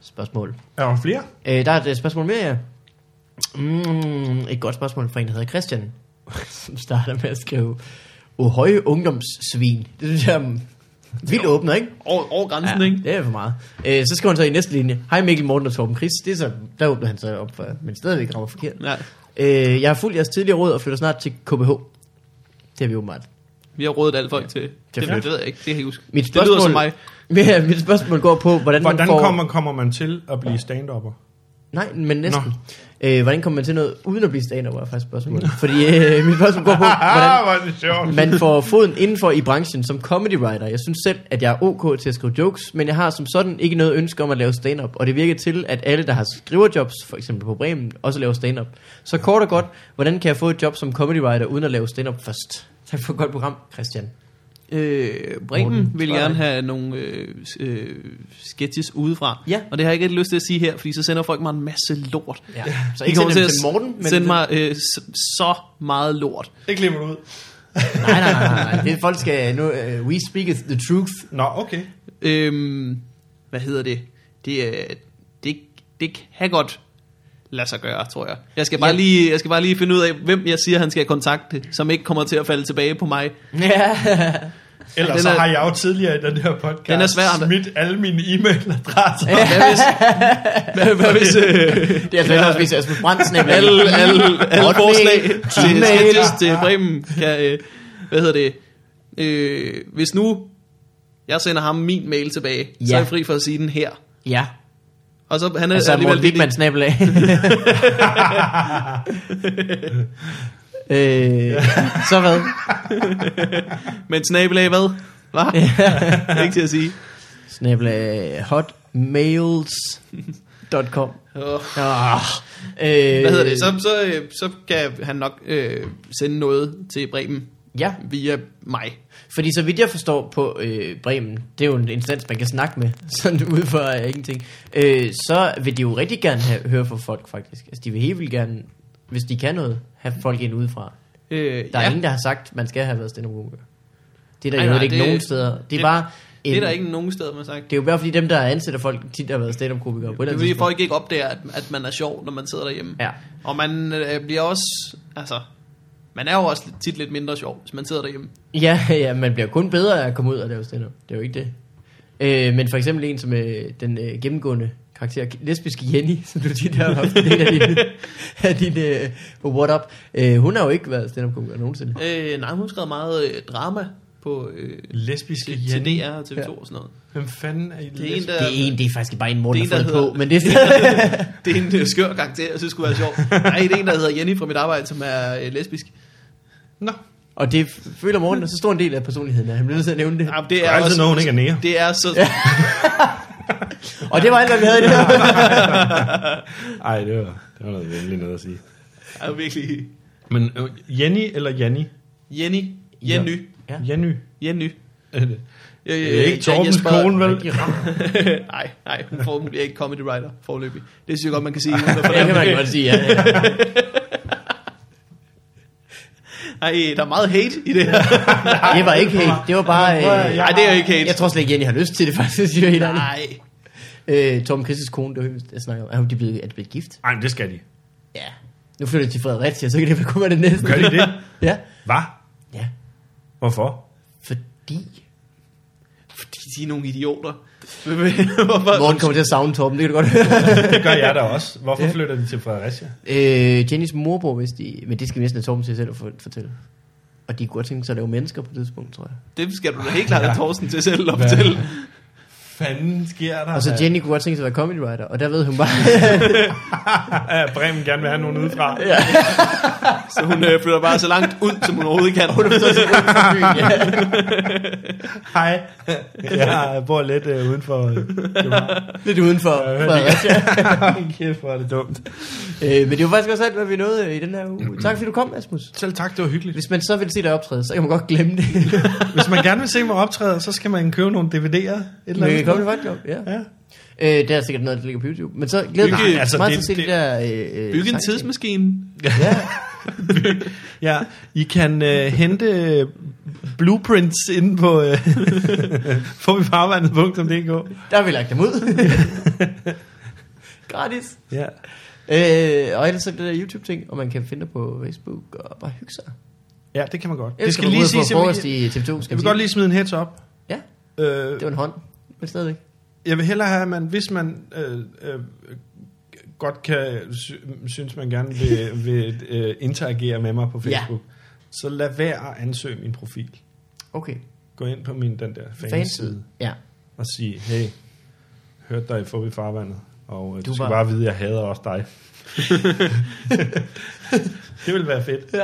Speaker 2: spørgsmål.
Speaker 3: Er der flere?
Speaker 2: Øh, der er et øh, spørgsmål mere, ja. Mm, et godt spørgsmål fra en, der hedder Christian, som starter med at skrive, Ohøj ungdomssvin. Det synes jeg er vildt åbner, ikke?
Speaker 1: Over, over grænsen, ikke?
Speaker 2: det er for meget. Øh, så skriver han så i næste linje, Hej Mikkel Morten og Torben Chris. Det er så, der åbner han så op for, men stadigvæk rammer forkert.
Speaker 1: Ja.
Speaker 2: Øh, jeg har fulgt jeres tidligere råd og flytter snart til KBH. Det har vi åbenbart.
Speaker 1: Vi har rådet alt folk til. Det,
Speaker 2: fedt.
Speaker 1: det ved jeg ikke. Det kan jeg ikke huske.
Speaker 2: Mit
Speaker 1: det
Speaker 2: spørgsmål,
Speaker 1: lyder som mig.
Speaker 2: Ja, mit spørgsmål går på, hvordan,
Speaker 3: Hvordan
Speaker 2: man får...
Speaker 3: kommer, kommer man til at blive stand-upper?
Speaker 2: Nej, men næsten. Øh, hvordan kommer man til noget uden at blive stand-up, var faktisk spørgsmålet. Fordi øh, mit spørgsmål går på,
Speaker 3: Ah,
Speaker 2: hvordan
Speaker 3: hvor er det sjovt.
Speaker 2: man får foden indenfor i branchen som comedy writer. Jeg synes selv, at jeg er ok til at skrive jokes, men jeg har som sådan ikke noget ønske om at lave stand-up. Og det virker til, at alle, der har skriverjobs, for eksempel på Bremen, også laver stand-up. Så kort og godt, hvordan kan jeg få et job som comedy writer uden at lave stand-up først? Tak for et godt program, Christian.
Speaker 1: Øh, Bremen vil
Speaker 2: Frederik.
Speaker 1: gerne have nogle øh, s- øh, sketches udefra.
Speaker 2: Ja.
Speaker 1: Og det har jeg ikke rigtig lyst til at sige her, fordi så sender folk mig en masse lort.
Speaker 2: Ja. Så
Speaker 1: I
Speaker 2: ikke send dem til Morten, men...
Speaker 1: sende mig øh, s- så meget lort.
Speaker 3: Det klipper du ud.
Speaker 2: Nej, nej, nej, nej. Det, folk skal nu... Uh, we speak is the truth.
Speaker 3: Nå, okay.
Speaker 1: Øhm, hvad hedder det? Det, øh, det, det kan godt lade sig gøre, tror jeg. Jeg skal, bare
Speaker 2: Ja.
Speaker 1: lige, jeg skal bare lige finde ud af, hvem jeg siger, han skal kontakte, som ikke kommer til at falde tilbage på mig.
Speaker 2: Ja.
Speaker 3: Ellers
Speaker 1: Den
Speaker 3: så
Speaker 1: er-
Speaker 3: har jeg jo tidligere i den her podcast
Speaker 1: Den er svær, men-
Speaker 3: smidt alle mine e-mailadresser.
Speaker 1: Hvad hvis, hvad, hvad hvis øh,
Speaker 2: Det er altså ikke også, hvis Asmus Brandsen er
Speaker 1: alle, alle, alle
Speaker 2: Hotmail,
Speaker 1: forslag til
Speaker 2: Gmail.
Speaker 1: sketches til Bremen kan, øh, hvad hedder det, øh, hvis nu jeg sender ham min mail tilbage, ja. så er
Speaker 2: Ja.
Speaker 1: jeg fri for at sige den her.
Speaker 2: Ja,
Speaker 1: Og så han er
Speaker 2: altså
Speaker 1: alligevel
Speaker 2: Morten
Speaker 1: lidt-
Speaker 2: Wigman snabel af. øh, så hvad?
Speaker 1: Men snabelag hvad? Hva? ikke til at sige.
Speaker 2: Snabel af hotmails.com
Speaker 1: Åh.
Speaker 2: oh, øh,
Speaker 1: Hvad hedder det? Så, så, øh, så kan han nok øh, sende noget til Bremen
Speaker 2: Ja,
Speaker 1: via mig.
Speaker 2: fordi så vidt jeg forstår på øh, Bremen, det er jo en instans, man kan snakke med, sådan ud fra øh, ingenting, øh, så vil de jo rigtig gerne have, høre fra folk, faktisk. Altså, de vil helt vildt gerne, hvis de kan noget, have folk ind udefra.
Speaker 1: Øh,
Speaker 2: Der er
Speaker 1: ja,
Speaker 2: ja. ingen, der har sagt, man skal have været stand up Det er
Speaker 1: Nej,
Speaker 2: der jo
Speaker 1: nej,
Speaker 2: ikke
Speaker 1: det-
Speaker 2: nogen steder. Det er
Speaker 1: det-
Speaker 2: bare... En,
Speaker 1: det er der ikke nogen steder, man har sagt.
Speaker 2: det er jo bare fordi dem, der ansætter folk, tit har været stand up på et eller
Speaker 1: Det er
Speaker 2: andet
Speaker 1: fordi
Speaker 2: tidspunkt.
Speaker 1: folk ikke opdager, at, at man er sjov, når man sidder derhjemme.
Speaker 2: Ja.
Speaker 1: Og man øh, bliver også, altså, man er jo også lidt- tit lidt mindre sjov, hvis man sidder derhjemme.
Speaker 2: Ja, ja, man bliver kun bedre af at komme ud og lave stand up. Det er jo ikke det. Øh, men for eksempel en som øh, den øh, gennemgående karakter, lesbiske Jenny, som du tit har haft en del af din, af din øh, på What Up, øh, hun har jo ikke været stand up komiker nogensinde.
Speaker 1: Øh, nej, hun har skrevet meget øh, drama på øh,
Speaker 3: Lesbiske
Speaker 1: til, til DR og TV2
Speaker 2: Ja.
Speaker 1: ja. og sådan noget.
Speaker 3: Hvem fanden er I
Speaker 1: Det er en,
Speaker 3: lesbiske?
Speaker 1: der,
Speaker 2: Det er en, det er faktisk bare en morgen,
Speaker 1: Det
Speaker 2: der
Speaker 1: er en,
Speaker 2: har
Speaker 1: der
Speaker 2: fundet på,
Speaker 1: hedder-
Speaker 2: men det er
Speaker 1: det er en øh, skør karakter, jeg synes skulle være sjov. Nej, det er en, der hedder Jenny fra mit arbejde, som er øh, lesbisk.
Speaker 3: Nå,
Speaker 2: Og det føler Morten er så stor en del af personligheden, at han bliver nødt til at nævne det.
Speaker 1: Ja, det
Speaker 3: der
Speaker 1: er,
Speaker 3: er altid
Speaker 1: også,
Speaker 3: nogen, ikke er nære.
Speaker 1: det er så...
Speaker 2: Og det var alt, hvad vi havde i det her.
Speaker 3: Ej, det var, det var noget venligt noget at sige.
Speaker 1: er virkelig...
Speaker 3: Men øh, Jenny eller Janni?
Speaker 1: Jenny. Jenny.
Speaker 2: Ja.
Speaker 1: Øh,
Speaker 3: Jenny.
Speaker 1: Jenny.
Speaker 3: Er det?
Speaker 1: Øh,
Speaker 3: Det er ikke Torbens kone, vel?
Speaker 1: nej, nej, hun, får, hun bliver ikke comedy writer forløbig. Det synes jeg godt, man kan sige. uden at
Speaker 2: Det kan
Speaker 1: fornærme.
Speaker 2: man godt sige, ja. ja.
Speaker 1: Ej, der er meget hate i det her.
Speaker 2: Det var ikke helt. Det var bare... Øh,
Speaker 1: Nej, det er jo ikke hate.
Speaker 2: jeg tror slet ikke, Jenny har lyst til det, faktisk. Jeg er helt ærlig.
Speaker 1: Nej.
Speaker 2: Øh, Tom Christes kone, det var hende, jeg snakker om. Er hun de blevet, er de blevet gift?
Speaker 3: Ej, men det skal de.
Speaker 2: Ja. Nu flytter de til Fredericia, så kan det vel kun være det næste.
Speaker 3: Gør de det?
Speaker 2: Ja.
Speaker 3: Hvad?
Speaker 2: Ja.
Speaker 3: Hvorfor?
Speaker 2: Fordi...
Speaker 1: Fordi de er nogle idioter. Hvorfor?
Speaker 2: Morgen kommer til at savne Torben, det kan du godt høre.
Speaker 3: Det gør jeg da også. Hvorfor flytter de til Fredericia?
Speaker 2: øh, Jennys morbror, hvis de... Men det skal vi næsten have Torben til selv at for- fortælle. Og de kunne godt tænke sig at lave mennesker på et tidspunkt, tror jeg.
Speaker 1: Det skal du da helt klart have Thorsten til selv at fortælle.
Speaker 3: Fanden sker der?
Speaker 2: Og så Altså, Jenny kunne godt tænke sig at være comedy writer, og der ved hun bare...
Speaker 3: Ja, Bremen gerne vil have nogen udefra.
Speaker 2: ja.
Speaker 1: Så hun øh, flytter bare så langt ud, som hun overhovedet kan. Hun er
Speaker 2: ja.
Speaker 3: Hej. Jeg bor lidt øh, uden for øh, København.
Speaker 2: Lidt udenfor Fredericia.
Speaker 3: Kæft, hvor er det dumt.
Speaker 2: Øh, men det var faktisk også alt, hvad vi nåede øh, i den her uge. Tak fordi du kom, Asmus.
Speaker 3: Selv tak, det var hyggeligt.
Speaker 2: Hvis man så vil se dig optræde, så kan man godt glemme det.
Speaker 3: Hvis man gerne vil se mig optræde, så skal man købe nogle DVD'er. Et eller
Speaker 2: Men vi
Speaker 3: andet
Speaker 2: kan komme til Fight Club, ja.
Speaker 3: Ja.
Speaker 2: Øh, der er sikkert noget, der ligger på YouTube. Men så glæder
Speaker 1: Bygge-
Speaker 2: mig
Speaker 3: altså,
Speaker 2: altså, meget til
Speaker 3: det-
Speaker 2: at se det,
Speaker 3: det-
Speaker 2: der... Øh, øh,
Speaker 1: Bygge en
Speaker 2: sejl.
Speaker 1: tidsmaskine.
Speaker 2: Ja.
Speaker 3: ja, I kan øh, hente øh, blueprints inde på øh, forbifarvandet.dk.
Speaker 2: Der har vi lagt dem ud. Gratis.
Speaker 3: Ja.
Speaker 2: Øh, og ellers så det der YouTube-ting, og man kan finde dig på Facebook og bare hygge sig.
Speaker 3: ja, det kan man godt.
Speaker 2: Ellers
Speaker 3: det skal lige sige,
Speaker 2: sige, frokost
Speaker 3: jeg,
Speaker 2: i TV2, skal vi
Speaker 3: jeg vil
Speaker 2: sige.
Speaker 3: godt lige smide en heads up.
Speaker 2: Ja.
Speaker 3: Øh,
Speaker 2: Det var en hånd, men stadigvæk.
Speaker 3: Jeg vil hellere have, at man, hvis man øh, øh, godt kan, sy- synes, man gerne vil, vil øh, interagere med mig på
Speaker 2: Ja.
Speaker 3: Facebook, ja. så lad være at ansøge min profil.
Speaker 2: Okay.
Speaker 3: Gå ind på min den der fanside
Speaker 2: Fanside. Ja.
Speaker 3: og sige, hey, hørte dig i Forbi Farvandet, Og øh, du,
Speaker 2: Du
Speaker 3: du skal
Speaker 2: var-
Speaker 3: bare vide, at jeg hader også dig. det ville være fedt.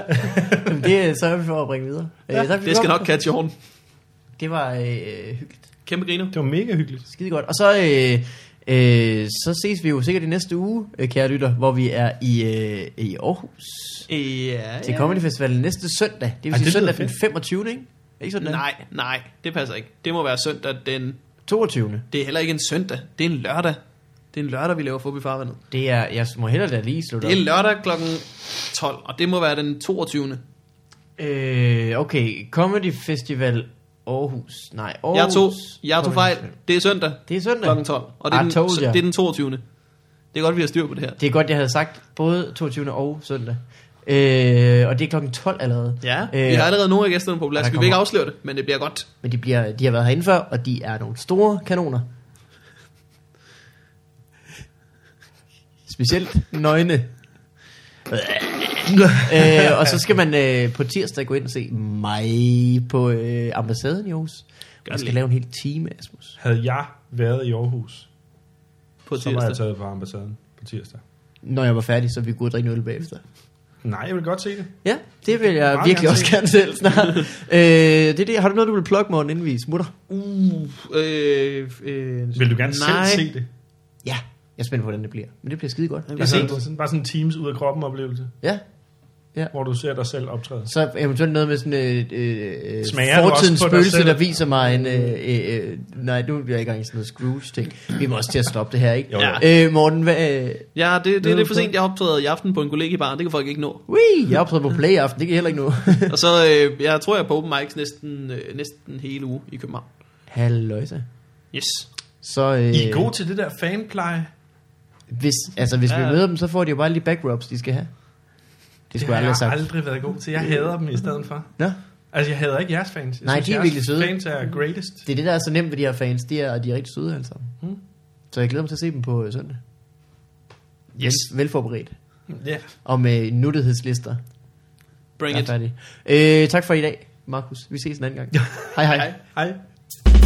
Speaker 2: Jamen, det sørger vi for at bringe videre. Øh, tak, fordi
Speaker 1: Det
Speaker 2: du
Speaker 1: skal
Speaker 2: kom.
Speaker 1: nok catch on.
Speaker 2: Det var øh, hyggeligt.
Speaker 1: Kæmpe griner.
Speaker 3: Det var mega hyggeligt.
Speaker 2: Skide godt. Og så, øh, øh, så ses vi jo sikkert i næste uge, øh, kære lytter, hvor vi er i, øh, i Aarhus.
Speaker 1: Ja,
Speaker 2: Til Comedy Festival næste søndag. Det vil
Speaker 3: Ej,
Speaker 2: sige
Speaker 3: det lyder
Speaker 2: søndag den 25. Ikke? Er Ikke sådan
Speaker 1: Nej, nej, det passer ikke. Det må være søndag den...
Speaker 2: 22.
Speaker 1: Det er heller ikke en søndag, det er en lørdag. Det er en lørdag, vi laver Fubi Farvandet.
Speaker 2: Det er, jeg må hellere lade lige slutte
Speaker 1: Det er
Speaker 2: op.
Speaker 1: lørdag kl. 12, og det må være den 22.
Speaker 2: Øh, okay, Comedy Festival Aarhus. Nej, Aarhus.
Speaker 1: Jeg tog, jeg tog
Speaker 2: Comedy
Speaker 1: fejl.
Speaker 2: Festival.
Speaker 1: Det er søndag
Speaker 2: Det er søndag.
Speaker 1: kl. 12, og det er,
Speaker 2: I
Speaker 1: den,
Speaker 2: told
Speaker 1: så-
Speaker 2: ya.
Speaker 1: det er den 22. Det er godt, vi har styr på det her.
Speaker 2: Det er godt, jeg havde sagt både 22. og søndag. Øh, og det er klokken 12 allerede.
Speaker 1: Ja,
Speaker 2: øh,
Speaker 1: vi har allerede nogle af gæsterne på
Speaker 2: og
Speaker 1: plads.
Speaker 2: der
Speaker 1: Vi vil ikke
Speaker 2: kommer-
Speaker 1: afsløre det, men det bliver godt.
Speaker 2: Men de, bliver, de har været herinde før, og de er nogle store kanoner. Specielt nøgne. øh, og så skal man øh, på tirsdag gå ind og se mig på øh, ambassaden i Aarhus. Man skal
Speaker 1: det.
Speaker 2: lave en hel time, Asmus.
Speaker 3: Havde jeg været i Aarhus,
Speaker 1: På
Speaker 3: så var
Speaker 2: altså.
Speaker 3: jeg
Speaker 1: tirsdag.
Speaker 3: taget på ambassaden på tirsdag.
Speaker 2: Når jeg var færdig, så vi kunne drikke en øl bagefter.
Speaker 3: Nej, jeg vil godt se det.
Speaker 2: Ja, det vil jeg
Speaker 3: Meget
Speaker 2: virkelig
Speaker 3: gerne
Speaker 2: også
Speaker 3: se.
Speaker 2: gerne selv snart. øh, det er det. Har du noget, du vil plukke, Morten, inden vi smutter?
Speaker 1: Uh, øh, øh,
Speaker 3: Vil du gerne
Speaker 1: nej.
Speaker 3: selv se det?
Speaker 2: Ja, jeg er spændt på, hvordan det bliver. Men det bliver skide godt.
Speaker 1: vil
Speaker 2: Jeg
Speaker 1: se
Speaker 2: ser-
Speaker 1: det.
Speaker 3: Altså, sådan, bare sådan en Teams ud af kroppen oplevelse,
Speaker 2: Ja,
Speaker 3: hvor du ser dig selv optræde.
Speaker 2: Så eventuelt noget med sådan øh, øh,
Speaker 3: Smager du
Speaker 2: fortidens
Speaker 3: også på dig
Speaker 2: spøgelse,
Speaker 3: selv?
Speaker 2: der viser mig en... Øh, øh, øh, nej, nu bliver jeg ikke engang i sådan noget Scrooge-ting. Vi må også til at stoppe det her, ikke?
Speaker 3: Jo,
Speaker 1: jo.
Speaker 2: Øh, Morten, hvad... Øh,
Speaker 1: Ja, det, det er
Speaker 2: Ved du
Speaker 1: lidt for sent. Jeg optræder i aften på en kollegiebar. Det kan folk ikke nå.
Speaker 2: Wee, jeg er optaget på play i aften, det kan jeg heller ikke nu.
Speaker 1: Og så, øh, jeg tror, jeg er på open mics næsten, øh, næsten hele uge i København.
Speaker 2: Halløjsa.
Speaker 1: Yes.
Speaker 2: Så øh,
Speaker 3: I er gode til det der fanpleje.
Speaker 2: hvis, altså, hvis ja.
Speaker 1: Ja.
Speaker 2: vi møder dem, så får de jo bare lige back rubs, de skal have. Det
Speaker 3: Det
Speaker 2: skulle
Speaker 3: har
Speaker 2: jeg aldrig
Speaker 3: jeg
Speaker 2: have sagt.
Speaker 3: aldrig været god til. Jeg hader dem i stedet for.
Speaker 2: Nå?
Speaker 3: Altså, jeg hader ikke jeres fans. Jeg
Speaker 2: Nej, de er
Speaker 3: jeres
Speaker 2: virkelig søde.
Speaker 3: fans er greatest.
Speaker 2: Det er det, der er så nemt ved de her fans, de er, de er rigtig søde alle sammen.
Speaker 3: Mm.
Speaker 2: Så jeg glæder mig til at se dem på øh, søndag.
Speaker 1: Yes.
Speaker 2: Vel, velforberedt.
Speaker 3: Ja.
Speaker 2: Og med nuttighedslister.
Speaker 1: Bring
Speaker 2: Jeg
Speaker 1: it.
Speaker 2: er færdig. Øh, tak for i dag, Markus. Vi ses en anden gang. hej hej.
Speaker 1: Hej.
Speaker 3: Hej.